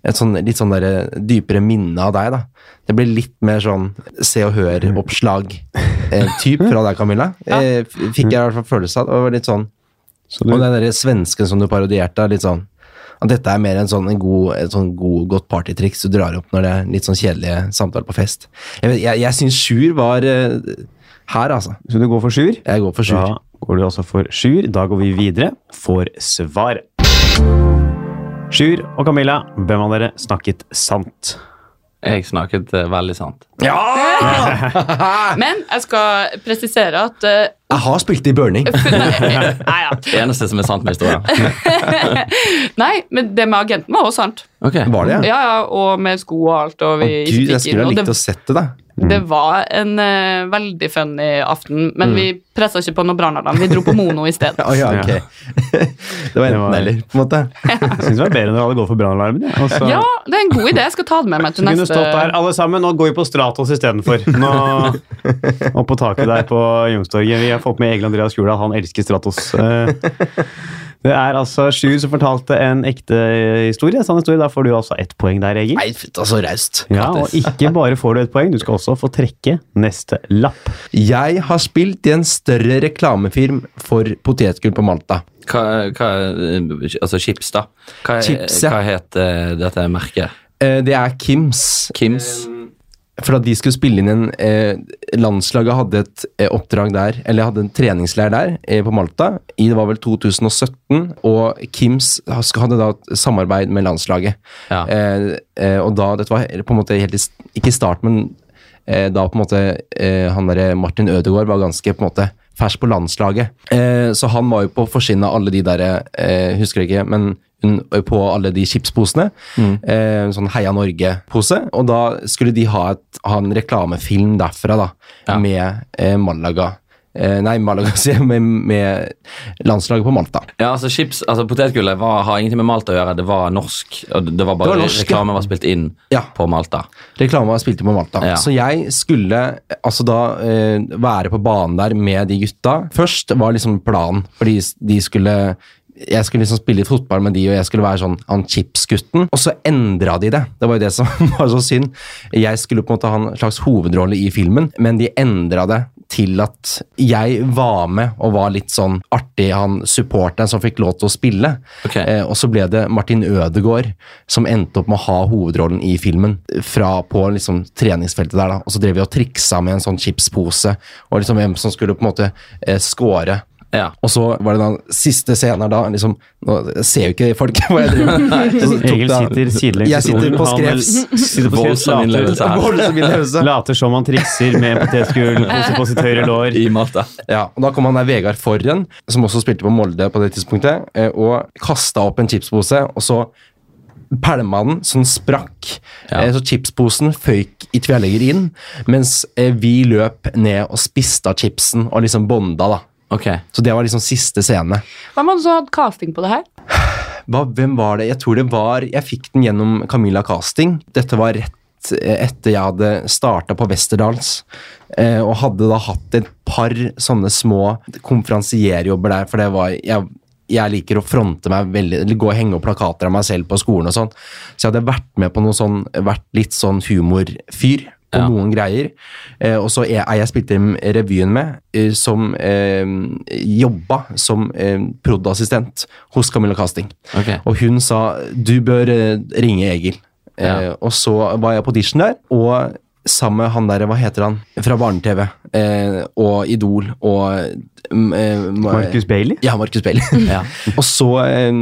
et sånn, litt sånn der dypere minne av deg, da. Det ble litt mer sånn Se og Hør-oppslag-typ fra deg, Camilla. Eh, f- fikk jeg i hvert fall følelse av. Det var litt sånn
Så
Og
du,
den derre svensken som du parodierte, er litt sånn at dette er mer en sånn en god, et sånn god, godt partytriks du drar opp når det er litt sånn kjedelige samtaler på fest. Jeg, vet- jeg, jeg syns Sjur var eh, her, altså.
så du går for sjuer?
Jeg går for Sjur.
Da går du også for sjuer. Da går vi videre for svar. Sjur og Camilla, hvem av dere snakket sant?
Jeg snakket eh, veldig sant.
Men jeg skal presisere at eh,
Jeg har spilt i burning.
Nei, ja.
Det eneste som er sant med historien.
Nei, men det med agenten var også sant.
Ok.
Var det?
Ja, ja, Og med sko og alt. Og
Å,
vi
Gud, jeg
gikk inn,
skulle ha
og det-
likt å sett det, da.
Det var en eh, veldig funny aften, men vi pressa ikke på noe brannalarm. Vi dro på Mono i stedet.
Å Mm. ja, ok.
Ja.
det var
Det var-
enten eller, på en måte.
Jeg syns det var bedre når alle går for brannalarmen. Ja. Og så-
Ja, det er en god idé. Jeg skal ta det med
Så
meg til
kunne du
neste
stått der, alle sammen. Nå går vi på Stratos istedenfor. Nå- Opp på taket der på Youngstorget. Vi har fått med Egil Andreas Kjula. Han elsker Stratos. Eh, Det er altså Sjur som fortalte en ekte historie. Sann historie. Da får du altså ett poeng der, Egil.
Nei, fitta, så raust.
Ja, og ikke bare får du ett poeng, du skal også få trekke neste lapp.
Jeg har spilt i en større reklamefilm for potetgull på Malta.
Hva, hva, eh, altså chips, da. Hva, er-
Chips, ja.
hva het eh, dette merket?
Eh, Det er Kims Eh,
Kims?
For at de skulle spille inn en eh, Landslaget hadde et eh, oppdrag der, eller hadde en treningsleir der, eh, på Malta. I, det var vel 2017. Og Kims has- hadde da et samarbeid med landslaget.
Ja.
Eh, eh, og da Dette var på en måte helt i, s- ikke i start, men eh, da på en måte eh, han derre Martin Ødegaard var ganske på en måte fersk på landslaget. Eh, så han var jo på forsiden av alle de derre eh, Husker jeg ikke, men hun- på alle de chipsposene. Eh, en sånn Heia Norge-pose. Og da skulle de ha, et, ha en reklamefilm derfra, da.
Ja.
Med eh, Malaga. Eh, nei, Malaga, sier jeg, med, med landslaget på Malta.
Ja, altså chips, altså Potetgullet var, har ingenting med Malta å gjøre. Det var norsk. og Det det var bare
Det var norsk, ja.
reklame var spilt inn
Ja.
på Malta.
Reklama spilte på Malta.
Ja.
Så jeg skulle eh, altså da eh, være på banen der med de gutta. Først var liksom planen, fordi s- de skulle jeg skulle liksom spille litt fotball med de, og jeg skulle være sånn han chipsgutten. Og så endra de det. Det var jo det som var så synd. Jeg skulle på en måte ha en slags hovedrolle i filmen, men de endra det til at jeg var med og var litt sånn artig han supporteren som fikk lov til å spille.
Ok.
Eh, og så ble det Martin Ødegaard som endte opp med å ha hovedrollen i filmen fra på liksom treningsfeltet der. da. Og så drev vi og triksa med en sånn chipspose, og liksom hvem som skulle på en måte eh, score.
Ja.
Og så var det da siste scenen her da liksom, Nå ser jo ikke folk hva jeg driver med. Så tok
Egil
da-
sitter sidelengs i
Jeg
stolen.
sitter på
Han
skrevs.
sitter på skrevs,
Voldsom innlevelse
later,
her.
Voldsom innlevelse.
later som han trikser med en potetgull, pose på sitt høyre lår.
I Malta.
Ja, og Da kom han der Vegard Forren, som også spilte på Molde på det tidspunktet, eh, og kasta opp en chipspose, og så pælma den, så den sprakk.
Ja.
Eh, Så chipsposen føyk i tverrlegger inn, mens eh, vi løp ned og spiste av chipsen og liksom bonda, da.
Ok.
Så det var liksom siste scene.
Hvem hadde så hatt casting på det her?
Hva, hvem var det? Jeg tror det var Jeg fikk den gjennom Camilla Casting. Dette var rett eh, etter jeg hadde starta på Westerdals. eh, Og hadde da hatt et par sånne små konferansierjobber der, for det var jeg, jeg liker å fronte meg veldig, eller gå og henge opp plakater av meg selv på skolen og sånn. Så jeg hadde vært med på noe sånn, vært litt sånn humorfyr på
Ja.
noen greier. Eh, og så er er jeg spilte i revyen med, eh, som eh, jobba som eh, prodassistent hos Camilla Casting.
ok.
Og hun sa du bør eh, ringe Egil. Eh,
Ja.
og så var jeg på audition der, og sammen med han der, hva heter han, fra Barne-TV eh, og Idol og mm, eh, ma-
Marcus Bailey?
Ja, Markus Bell.
Ja.
og så eh,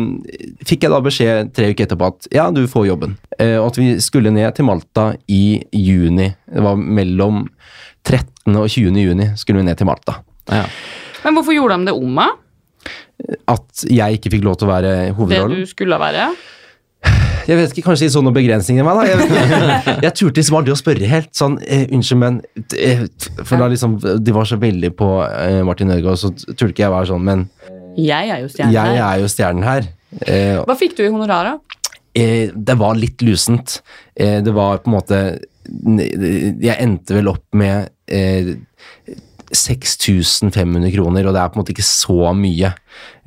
fikk jeg da beskjed tre uker etterpå at ja, du får jobben. Eh, og at vi skulle ned til Malta i juni. Det var mellom 13. og 20. juni skulle vi ned til Malta.
Ja.
Men hvorfor gjorde de det om meg?
At jeg ikke fikk lov til å være
Det
hovedrollen.
du skulle være?
Jeg vet ikke, Kanskje de så noen begrensninger i meg, da. Jeg, vet ikke. jeg turte liksom aldri å spørre helt. Sånn, eh, unnskyld, men eh, For da liksom De var så veldig på eh, Martin Ødegaard, så turte ikke jeg være sånn, men
Jeg er jo stjerne.
jeg er jo stjernen her. Eh,
Hva fikk du i honorar, da?
eh, det var litt lusent. Eh, det var på en måte Jeg endte vel opp med eh, 6500 kroner, og det er på en måte ikke så mye.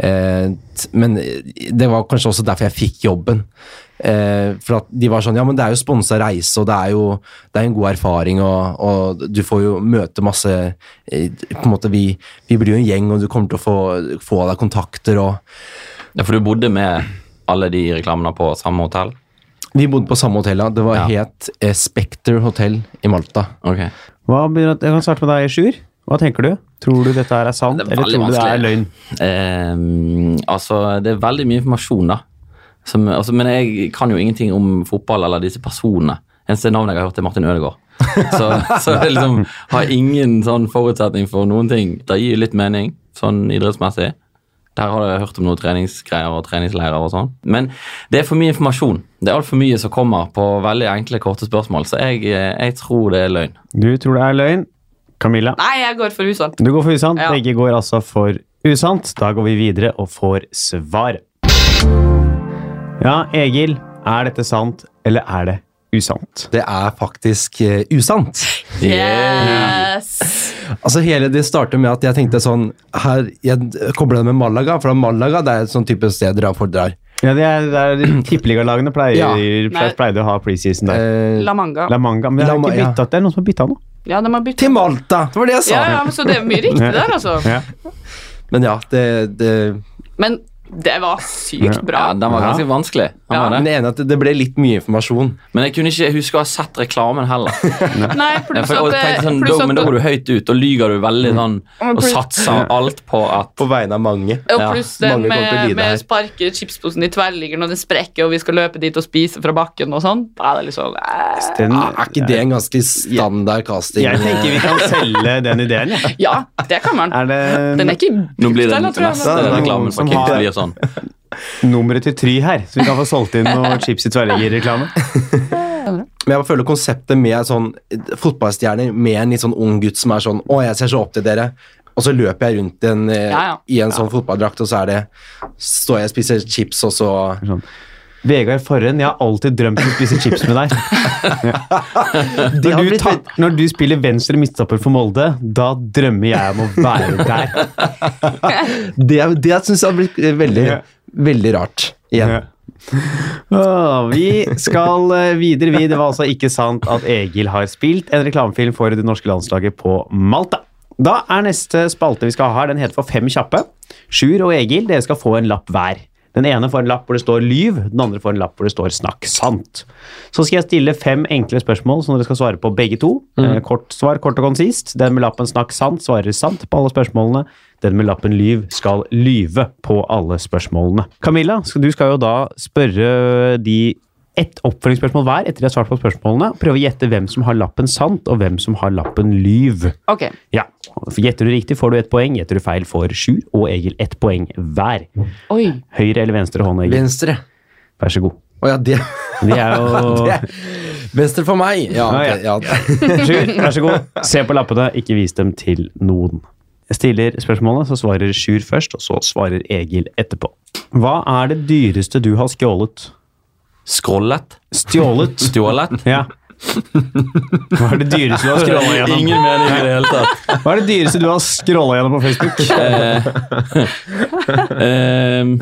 Eh, t- men eh, det var kanskje også derfor jeg fikk jobben. Eh, for at de var sånn Ja, men det er jo sponsa reise, og det er jo det er en god erfaring, og, og du får jo møte masse eh, På en måte, vi, vi blir jo en gjeng, og du kommer til å få, få deg kontakter, og
Ja, for du bodde med alle de reklamene på samme hotell?
Vi bodde på samme hotell, da. Det var
Ja.
het eh, Spekter hotell i Malta.
Ok.
Hva, begynner- jeg kan starte med deg, Sjur. Hva tenker du? Tror du dette her er sant,
Det er
eller
veldig
tror du det er
vanskelig.
løgn?
Ehm, altså, det er veldig mye informasjon, da. Som, altså, men jeg kan jo ingenting om fotball eller disse personene. Eneste navn jeg har hørt, er Martin Ødegaard. Så, så jeg liksom har ingen sånn forutsetning for noen ting. Det gir litt mening, sånn idrettsmessig. Der har jeg hørt om noen treningsgreier og treningsleirer og sånn. Men det er for mye informasjon. Det er altfor mye som kommer på veldig enkle, korte spørsmål, så jeg, eh, jeg tror det er løgn.
Du tror det er løgn. Camilla,
Nei, jeg går for usant.
du går for usant.
Ja.
Begge går altså for usant. Da går vi videre og får svar. Ja, Egil. Er dette sant, eller er det usant?
Det er faktisk eh, usant.
Yes!
Altså hele Det starter med at jeg tenkte sånn her, Jeg kobler det med Malaga, for Malaga det er et sånn type sted dere fordrar.
Ja, det er, det er Tippeligalagene pleier,
Ja.
Nei.
pleide å ha preseason der.
Eh,
La Manga.
La Manga, men det er,
La Ma-
ikke
ja.
byttet, det er noen som har bytta nå.
Ja, de har byttet.
til Malta! Det var det jeg sa.
Ja, ja, men så det er mye riktig der, altså.
Ja.
Men ja, det, det
Men det var sykt bra.
Ja, den var ganske vanskelig. Den
Ja.
var det.
Men jeg er enig i at det ble litt mye informasjon.
Men jeg kunne ikke huske å ha sett reklamen heller.
Nei,
Ja,
pluss
for, og
at,
tenkte
det-
sånn,
pluss
da, men da går
at
du høyt ut, og lyger du veldig sånn
men
Og
pluss-
satser alt på at
På vegne av mange.
og
ja,
pluss det
mange kommer til å lide
med,
her.
med å sparke chipsposen i tverrliggeren, og det sprekker, og vi skal løpe dit og spise fra bakken og sånn. Da er det liksom eh,
Den,
Ah, er ikke det en ganske standard casting?
jeg tenker vi kan selge den ideen, jeg.
Ja, det kan man.
Er det
Den er ikke
Nå blir det
den,
neste
tror jeg, men-
det er
reklamen
noen
fra
som
Kims
har-
blir sånn.
nummeret til Try her, så vi kan få solgt inn noe chips i tverrliggerreklame?
Men jeg bare føler konseptet med sånn eh, fotballstjerner med en litt sånn ung gutt som er sånn Å, jeg ser så opp til dere. Og så løper jeg rundt en, eh,
Ja, ja.
i en sånn fotballdrakt, og så er det Står jeg og spiser chips, og så
Vegard Forren, jeg har alltid drømt om å spise chips med deg. Når
Det hadde
du,
blitt
tak-
veldig-
når du spiller venstre midtstopper for Molde, da drømmer jeg om å være der.
Det, det syns jeg har blitt eh, veldig,
Ja.
veldig rart. Igjen.
Åh, vi skal eh, videre, vi. Det var altså ikke sant at Egil har spilt en reklamefilm for det norske landslaget på Malta. Da er neste spalte vi skal ha, her, den heter for Fem kjappe. Sjur og Egil, dere skal få en lapp hver. Den ene får en lapp hvor det står lyv, den andre får en lapp hvor det står snakk sant. Så skal jeg stille fem enkle spørsmål som dere skal svare på begge to. Eh, Kort svar, kort og konsist. Den med lappen snakk sant svarer sant på alle spørsmålene. Den med lappen lyv skal lyve på alle spørsmålene. Camilla, skal- du skal jo da spørre de ett oppfølgingsspørsmål hver etter de har svart på spørsmålene. Prøve å gjette hvem som har lappen sant, og hvem som har lappen lyv.
Ok,
Ja. Gjetter du riktig, får du ett poeng. Gjetter du feil, får Sjur og Egil ett poeng hver.
oi.
Høyre eller venstre hånd, Egil?
Venstre.
Vær så god.
Å ja, det
Det er jo
Venstre for meg! Ja, ok, ja.
Sjur, vær så god. Se på lappene, ikke vis dem til noen. Jeg stiller spørsmålet, så svarer Sjur først, og så svarer Egil etterpå. Hva er det dyreste du har skjålet?
Skrollet.
Stjålet?
Stjålet.
Ja. Hva er det dyreste du har scrollet gjennom?
Ingen mening i det hele tatt.
Hva er det dyreste du har scrollet gjennom på Facebook?
Ehm,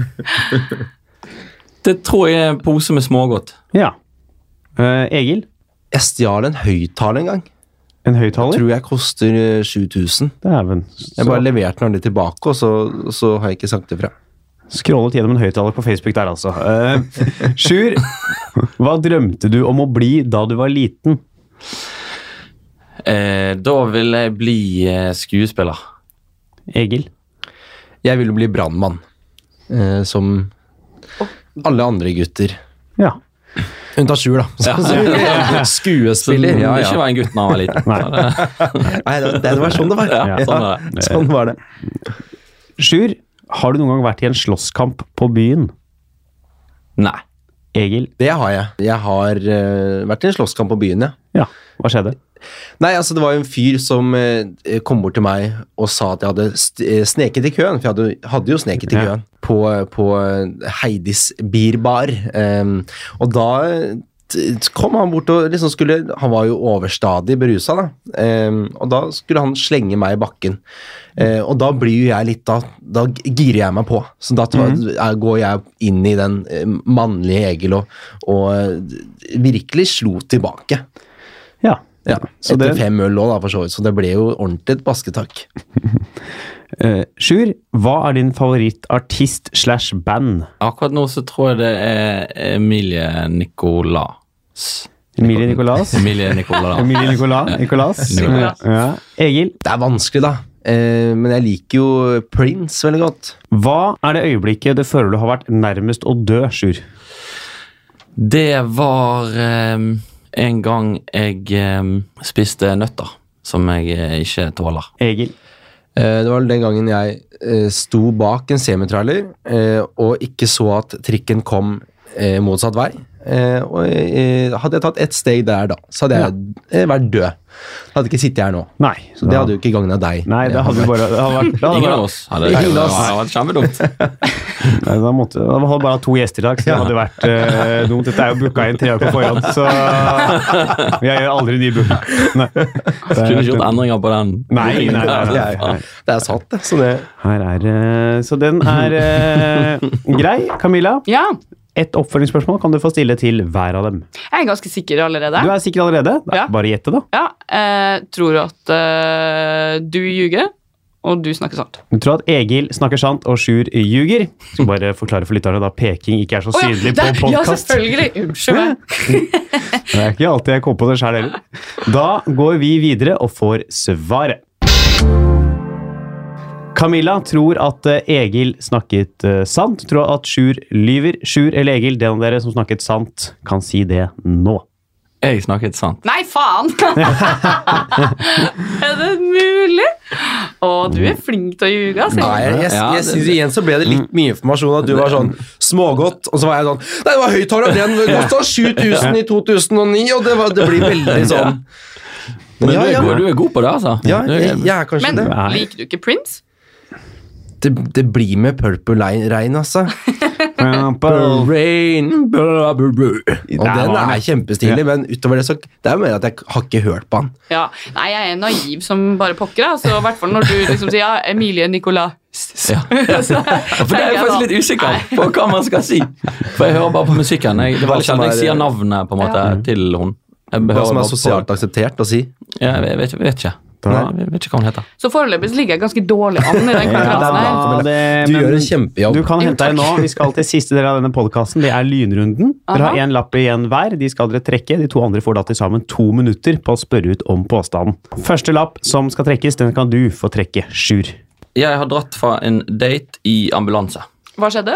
det tror jeg er en pose med smågodt.
Ja. Eh, Egil,
Jeg stjal en høyttaler en gang.
en høyttaler?
Tror jeg koster eh, 7000.
Dæven.
Jeg
Så
bare leverte den aldri tilbake, og så, og så har jeg ikke sagt ifra.
Scrollet gjennom en høyttaler på Facebook der, altså. Eh, Sjur, hva drømte du om å bli da du var liten?
Eh, da vil jeg bli eh, skuespiller.
Egil?
Jeg ville bli brannmann. Eh, som alle andre gutter.
Ja.
Unntatt Sjur, da. Så,
Så
skuespiller. Ja,
ikke
ja.
var en gutt da han var liten.
Nei.
Så det-
Nei, det, det var sånn det var.
Ja, sånn var det.
sånn var det.
Sjur, har du noen gang vært i en slåsskamp på byen?
Nei.
Egil?
Det har jeg. Jeg har eh, vært i en slåsskamp på byen, ja.
Ja, hva skjedde?
Nei, altså det var jo en fyr som eh, kom bort til meg og sa at jeg hadde st eh, sneket i køen, for jeg hadde, hadde jo sneket i eh,
Ja.
køen på, på Heidis Birbar. Um, ehm, og da t- kom han bort og liksom skulle Han var jo overstadig berusa, da. Ehm, og da skulle han slenge meg i bakken. Eh, og da blir jo jeg litt Da, da girer jeg meg på. Så da tar, er- går jeg inn i den eh, mannlige Egil og, og eh, virkelig slo tilbake.
Ja.
Ja,
Så
Etter
det-
fem øl òg, da, for så vidt. Så det ble jo ordentlig et basketak.
Eh, Sjur, hva er din favorittartist slash band?
Akkurat nå så tror jeg det er Emilie Nicolas.
Emilie Nicolas?
Emilie Nicolas.
Emilie Nicolas? Nicolas?
Nicolas.
Ja. Egil,
Det er vanskelig, da. Eh, men jeg liker jo Prince veldig godt.
hva er det øyeblikket du føler du har vært nærmest å dø, Sjur?
Det var eh, en gang jeg eh, spiste nøtter som jeg eh, ikke tåler.
Egil,
Eh, Det var den gangen jeg eh, sto bak en semitrailer eh, og ikke så at trikken kom eh, motsatt vei. Eh, og eh, hadde jeg tatt ett steg der da, så hadde jeg eh, vært død. Jeg hadde ikke sittet her nå.
nei.
Så det hadde jo ikke gagna deg.
Nei, det hadde bare det hadde vært, det hadde
Ingen
bare,
av oss hadde
Ingen av
det.
oss.
var kjempedumt.
Nei, da måtte, da hadde bare hatt to gjester i dag, så det hadde vært eh, dumt. Dette er jo booka inn tre år på forhånd, så jeg gjør aldri de booka. Nei.
Kunne ikke gjort endringer på den.
Nei, nei, nei, nei, nei.
Det er sant, det. Så det
Her er eh, Så den er eh, grei. Camilla,
Ja,
et oppfølgingsspørsmål kan du få stille til hver av dem.
jeg er ganske sikker allerede.
Du er sikker allerede? Det er
Ja.
Bare gjett det, da.
Ja, jeg tror at eh, du ljuger, og du snakker sant.
Du tror at Egil snakker sant og Sjur ljuger. Skal bare forklare for lytterne da peking ikke er så
Å ja,
synlig
der-
på
ja,
podkast.
selvfølgelig! Unnskyld meg.
Det er ikke alltid jeg kommer på det sjøl heller. Da går vi videre og får svaret. Camilla tror at eh, Egil snakket eh, sant. Tror at Sjur lyver. Sjur eller Egil, den av dere som snakket sant, kan si det nå.
Jeg snakket sant.
Nei, faen! er det mulig? Å, du er flink til å ljuge, altså.
Nei, jeg, jeg, jeg,
Ja, det-
synes igjen så ble det litt mye informasjon. At du var sånn smågodt, og så var jeg sånn Nei, det var høyt tall, og den kosta 7000 i 2009, og det, var, det blir veldig sånn
Men
Ja,
du, er
ja.
god, du er god på det, altså.
Ja,
Du er-
jeg, jeg er kanskje
Men
det.
Nei.
liker du ikke Prince?
det. Det blir med purple Line- regn, altså.
Purple.
Rain blah, blah, blah. Og
Der
den
var den.
er kjempestilig, men utover det så Det er jo mer at jeg har ikke hørt på han.
Ja. Nei, jeg er naiv som bare pokker, altså. I hvert fall når du liksom sier ja, Emilie Nicolas.
Ja.
Så
For det er jeg
tenker
faktisk
jeg da,
litt usikker på hva man skal si. For jeg hører bare på musikken. Jeg, det er
Hva
veldig
som
sjelden jeg
er-
sier navnet på en måte til hun. Jeg
Hva
hører
som
bare
er
på-
sosialt akseptert å si.
Ja, jeg vet, jeg vet ikke.
Da-
Nei, jeg vet ikke hva hun heter.
Så foreløpig så ligger jeg ganske dårlig an i den
Ja,
konkurransen her.
da, det- Eh,
Du
men-
gjør en kjempejobb.
Du kan
Jo,
hente deg nå. Vi skal til siste del av denne podkasten. Det er lynrunden. Dere har
Aha.
én lapp igjen hver. De skal dere trekke. De to andre får da til sammen to minutter på å spørre ut om påstanden. Første lapp som skal trekkes, den kan du få trekke, Sjur.
Jeg har dratt fra en date i ambulanse.
Hva skjedde?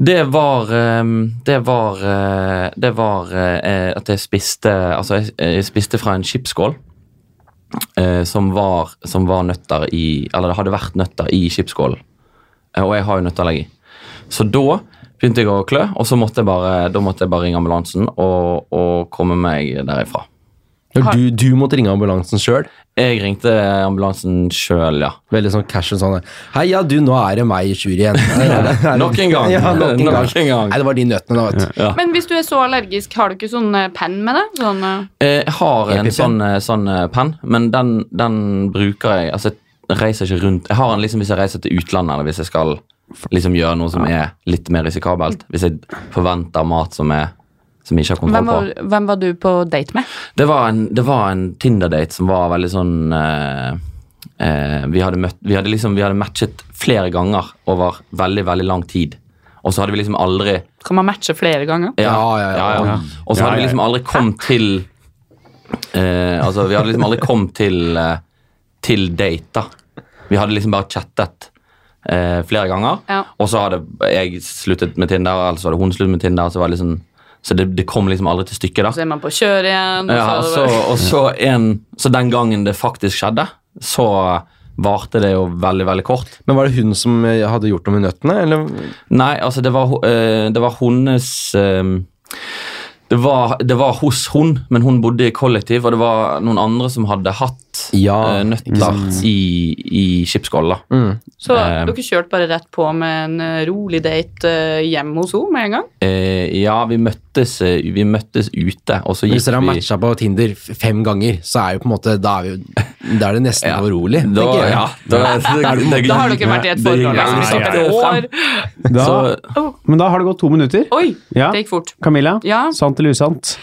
Det var ehm, Det var eh, Det var eh, at jeg spiste Altså, jeg, jeg spiste fra en chipsskål. eh, som, var, som var nøtter i Eller det hadde vært nøtter i chipsskålen. Eh, og jeg har jo nøtteallergi. Så da begynte jeg å klø, og så måtte jeg bare, da måtte jeg bare ringe ambulansen og, og komme meg derifra.
Når du, du måtte ringe ambulansen sjøl.
Jeg ringte ambulansen sjøl, ja.
Veldig sånn casual sånn Heia, du, nå er det meg i jury igjen.
Nok en gang.
Ja, nok en gang.
Nok en gang.
Nei, det var de nøttene, da, vet du.
Men hvis du er så allergisk, har du ikke sånn eh, penn med deg? Sånn, eh,
Eh, Jeg har en
EpiPen?
sånn, eh, sånn eh, penn, men den, den bruker jeg Altså, jeg reiser ikke rundt. Jeg har den liksom hvis jeg reiser til utlandet, eller hvis jeg skal liksom gjøre noe som er litt mer risikabelt. Hvis jeg forventer mat som, er, som jeg ikke har
hvem,
kontroll på.
var, hvem var du på date med?
Det var en, det var en Tinder-date som var veldig sånn eh, eh, vi, hadde møtt, vi, hadde liksom, vi hadde matchet flere ganger over veldig, veldig lang tid. Og så hadde vi liksom aldri
Kan man matche flere ganger?
Ja, ja, ja.
Og så
Ja,
hadde
ja,
vi liksom aldri kommet til eh, Altså, vi hadde liksom aldri kommet til eh, Til date, da. Vi hadde liksom bare chattet eh, flere ganger.
Ja.
Og så hadde jeg sluttet med Tinder, eller så hadde hun sluttet med Tinder. Så, var det liksom, så det, det kom liksom aldri til stykket, da.
Så er man på kjør igjen. og
Ja, og så,
så-
og så, en, så den gangen det faktisk skjedde, så varte det jo veldig, veldig kort.
Men var det hun som eh, hadde gjort noe med nøttene, eller?
Nei, altså, det var, ho- eh, det var hennes eh, det var, det var hos hun, men hun bodde i kollektiv, og det var noen andre som hadde hatt
Ja, Mm.
eh, nøtter i, i chipskåler.
Så
Eh.
dere kjørte bare rett på med en eh, rolig date eh, hjem hos henne med en gang?
Eh, ja, vi møttes, eh, vi møttes ute, og så gikk
Hvis dere har
vi
matcha på Tinder f- fem ganger, så er jo på en måte Da er, vi, da er det nesten
Ja.
urolig.
da,
tenker jeg.
ja, da,
Da har dere vært i et forhold
Ja,
liksom,
ja,
i
ja.
et år.
Da,
Så-
men da har det gått to minutter.
Oi,
Ja.
det gikk fort.
Camilla,
Ja.
sant eller usant?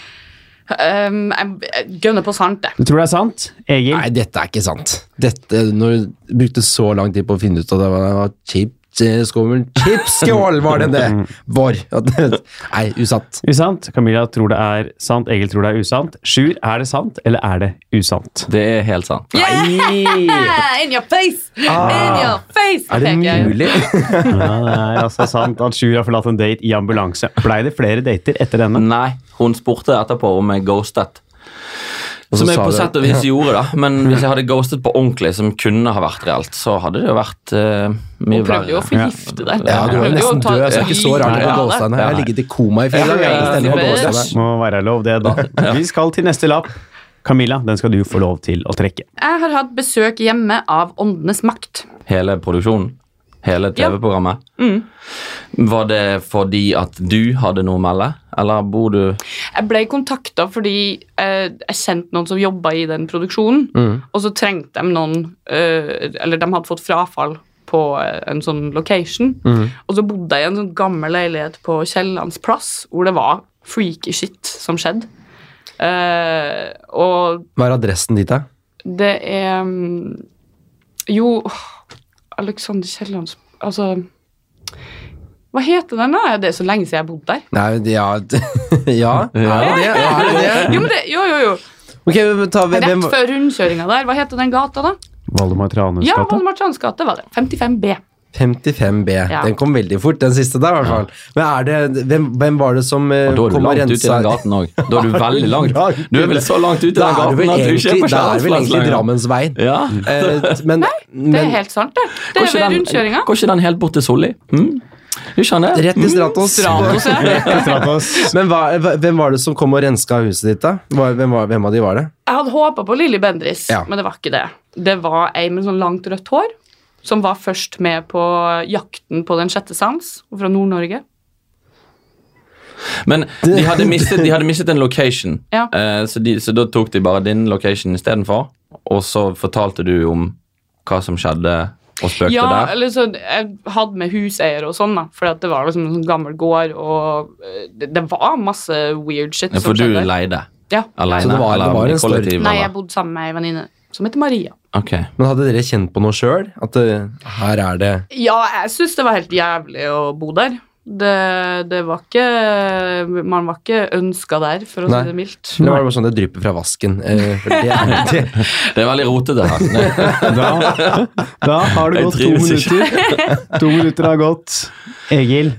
Um, jeg jeg gønner på sant, jeg.
Du tror det er sant? Egil?
Nei, dette er ikke sant. Dette, når du brukte så lang tid på å finne ut at det var, det var chip, eh, skummel chipskål, var det det var? At, nei, usatt.
Usant. Camilla tror det er sant. Egil tror det er usant. Sjur, er det sant, eller er det usant?
Det er helt sant.
Yeah! In your face! In your face!
Ah. Er det
tenker jeg.
mulig?
Ja, det er altså sant at Sjur har forlatt en date i ambulanse. Blei det flere dater etter denne?
Nei, hun spurte etterpå om jeg ghostet.
så
Som jeg
sa
på
du-
sett og vis gjorde, da. Men hvis jeg hadde ghostet på ordentlig, som kunne ha vært reelt, så hadde det jo vært eh, mye
Hun prøvde jo å
verre.
forgifte deg.
Ja, du var jo
Prøvde jo å
nesten
ta
død, så det sånn. er ikke så rart at du
livet av deg.
gåsa henne. Jeg har ligget i koma i fire
Ja,
dager.
ja,
i stedet for å
ja.
gåse henne.
Må være lov, det, da. Vi skal til neste lapp. Camilla, den skal du få lov til å trekke.
Jeg har hatt besøk hjemme av Åndenes makt.
Hele produksjonen. Hele
Ja. Mm.
TV-programmet. Var det fordi at du hadde noe å melde, eller bor du
Jeg ble kontakta fordi eh, jeg kjente noen som jobba i den produksjonen, og så trengte de noen eh, Eller de hadde fått frafall på eh, en sånn location. Og så bodde jeg i en sånn gammel leilighet på Kiellands plass, hvor det var freaky shit som skjedde. Eh, og
Hva er adressen dit, da?
det er mm, Jo, Alexander Kiellands Altså Hva heter den, da? Det er så lenge siden jeg bodde der.
Nei, ja Ja, er det det? Er det det?
Jo, men det, jo, jo, jo.
Ok, men ta hvem,
Rett
hvem
før rundkjøringa der. Hva heter den gata, da?
Valdemar Tranhus
Ja,
gate.
Valdemar Trans gate var det. 55B.
55B.
Ja.
Den kom veldig fort, den siste der, i hvert fall. Men er det, hvem, hvem var det som eh,
Da er du
kom og
langt ute i
rensa
den gaten òg. Da er du veldig langt.
Langt
Du er vel så langt ute i
Da
den
er det
gaten
vel
at du ikke er
egentlig,
på
da er det vel
Kjærlandsplass
egentlig
lenger.
Drammensveien.
Ja.
Eh, men,
Det er
men
helt sant, det. Det er
Går ikke
ved
den-
rundkjøringa.
Går ikke den helt bort til Solli? Mm? Du skjønner? Hm?
rett i Stratos.
Stratos, ja.
Stratos.
Men hva, hva- hvem var det som kom og renska huset ditt, da? Hva- Hvem, var, hvem av de var det?
Jeg hadde håpa på Lilly Bendris,
Ja.
men det var ikke det. Det var ei med sånn langt rødt hår som var først med på Jakten på den sjette sans, og fra Nord-Norge.
Men de hadde mistet, de hadde mistet en location,
Ja.
Eh, så, de, så da tok de bare din location istedenfor. Og så fortalte du om hva som skjedde, og spøkte
Ja,
der.
eller så Jeg hadde med huseiere og sånn, da, for det var liksom en sånn gammel gård, og eh, det, det var masse weird shit
Ja,
som
For du
skjedde.
leide
Ja.
alene?
Så det var- det
eller
var en
i kollektiv?
Nei, jeg
eller?
bodde sammen med ei venninne som heter Maria.
Ok.
Men hadde dere kjent på noe sjøl? At eh, her er det
Ja, jeg syns det var helt jævlig å bo der. Det, det var ikke Man var ikke ønska der, for å
Nei.
si det mildt.
Eller var det bare sånn det drypper fra vasken? Eh, for det er det.
Det er veldig rotete her. Nei,
Da, da har det
Jeg
gått to
trives
minutter. To minutter har gått. Egil,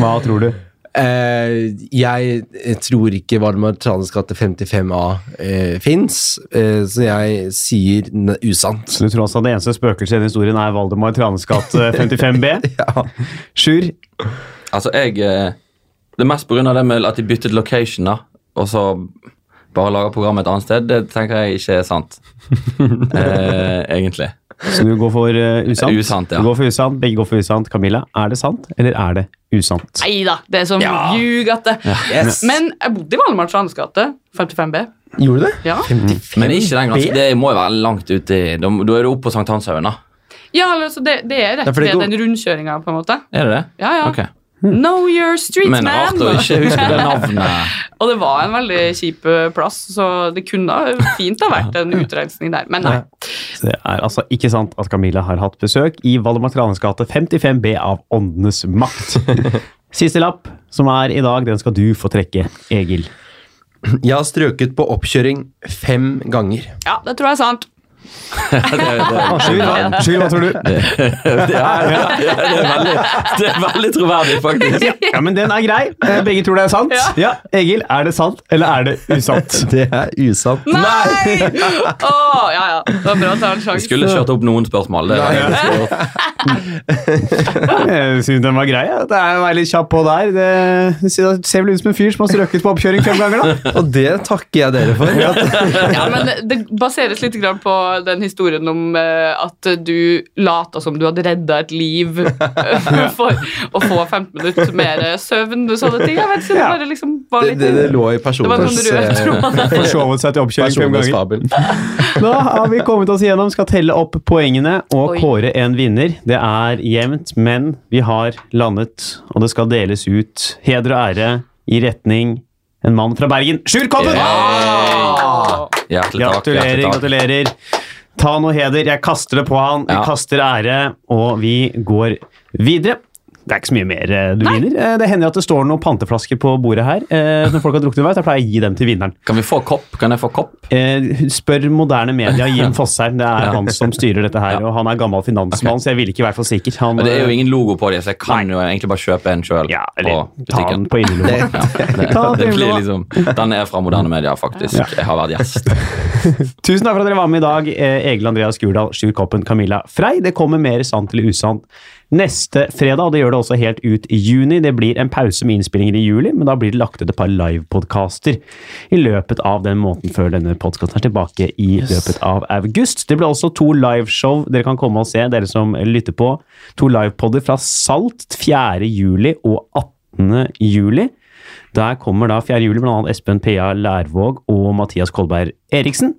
hva tror du?
Eh, jeg tror ikke Valdemar Tranes gate 55A eh, fins, eh, så jeg sier n usant.
Du tror altså det eneste spøkelset i denne historien er Valdemar Tranes gate 55B?
Ja.
Sjur,
Altså, jeg eh, Det er mest pga. det med at de byttet location, da. Og så bare lager programmet et annet sted. Det tenker jeg ikke er sant. eh, egentlig.
så du går for eh, usant?
Usant, ja.
Du går for usant, Begge går for usant. Camilla, er det sant, eller er det usant?
Nei da, det er som ljug at det
Yes.
Men jeg bodde i Valdemar Strands gate, 55B.
Gjorde du det?
Ja.
Men ikke den ganske, det må jo være langt ute i Da da er du oppe på Sankthanshaugen, da.
ja, altså, det, det er
Ja,
rett
for det
ved
går-
den rundkjøringa, på en måte.
Er det det?
Ja, ja.
Ok.
Know your street,
Men
man!
rart å ikke huske det navnet.
Og det var en veldig kjip eh, plass, så det kunne ha- fint ha vært en utreisning der. Men nei.
Det er altså ikke sant at Camilla har hatt besøk i Valdemar Tranes gate 55B av Åndenes makt. Siste lapp, som er i dag, den skal du få trekke, Egil.
Jeg har strøket på oppkjøring fem ganger.
Ja, det tror jeg er sant.
det, er- det, er-
Skyld, hva, Skyld, hva tror du?
det, er, ja, det, er veldig, det er veldig troverdig, faktisk.
Ja, men den er grei. Eh, Begge tror det er sant.
Ja.
Ja, Egil, er det sant, eller er det usant?
Det er usant.
Nei! Å, ja, ja. Det var bra å ta en sjanse.
Skulle kjørt opp noen spørsmål. Det,
Jeg Eh, synes den var grei. ja. Det er å være litt kjapp på der. Det- Det ser det ser vel ut som en fyr som har strøket på oppkjøring fem ganger, da.
Og det takker jeg dere for.
Ja, men det- Det baseres litt grann på den historien om eh, at du lata som du hadde redda et liv eh, for å få 15 minutter mer eh, søvn og sånne ting. Jeg vet ikke, Det
Ja.
bare liksom var
Det,
litt
det, det sånn lå i
Det var sånn
personens,
noen røde
eh,
tråder.
Forsovet seg til oppkjøring fem
personens
ganger.
fabel.
Da har vi kommet oss igjennom, skal telle opp poengene og
Oi.
kåre en vinner. Det er jevnt, men vi har landet, og det skal deles ut heder og ære i retning en mann fra Bergen. Sjur Kobben!
Åh.
Hjertelig takk.
Gratulerer,
hjertelig takk.
gratulerer. Ta noe heder. Jeg kaster det på han. Vi
Ja.
kaster ære, og vi går videre. Det er ikke så mye mer eh, du vinner. Eh, Det hender at det står noen panteflasker på bordet her. eh, Når folk har druknet underveis, da pleier jeg å gi dem til vinneren.
Kan vi få kopp? Kan jeg få kopp?
Eh, spør moderne media Jim Fosheim. Det er han som styrer dette her. Og han er gammel finansmann, så jeg ville ikke vært for sikker. Han,
Og det er jo
eh,
ingen logo på dem, så jeg kan jo egentlig bare kjøpe en sjøl.
ja, eller ta den på innerlomma. Ta den på
det blir
innerlomma.
liksom, den er fra moderne media, faktisk. Jeg har vært gjest.
Tusen takk for at dere var med i dag. Eh, Egil Andreas Gurdal, Sjur Koppen, Camilla Frey. Det kommer mer sant eller usant neste fredag, og det gjør det også helt ut i juni. Det blir en pause med innspillinger i juli, men da blir det lagt ut et par livepodkaster i løpet av den måneden før denne podkasten er tilbake i løpet av august. Det blir også to liveshow dere kan komme og se, dere som lytter på. To livepodder fra Salt 4. juli og 18. juli. Der kommer da 4. juli bl.a. Espen P.A. Lærvåg og Mathias Kolberg Eriksen.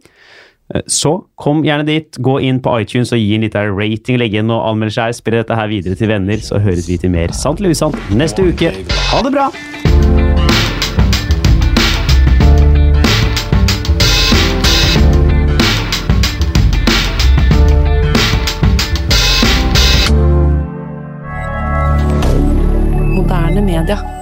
Eh, Så kom gjerne dit, gå inn på iTunes og gi en liten rating, legge inn og anmelde seg. Spre dette her videre til venner, så høres vi til mer Sant eller usant neste uke. Ha det bra!
Moderne media.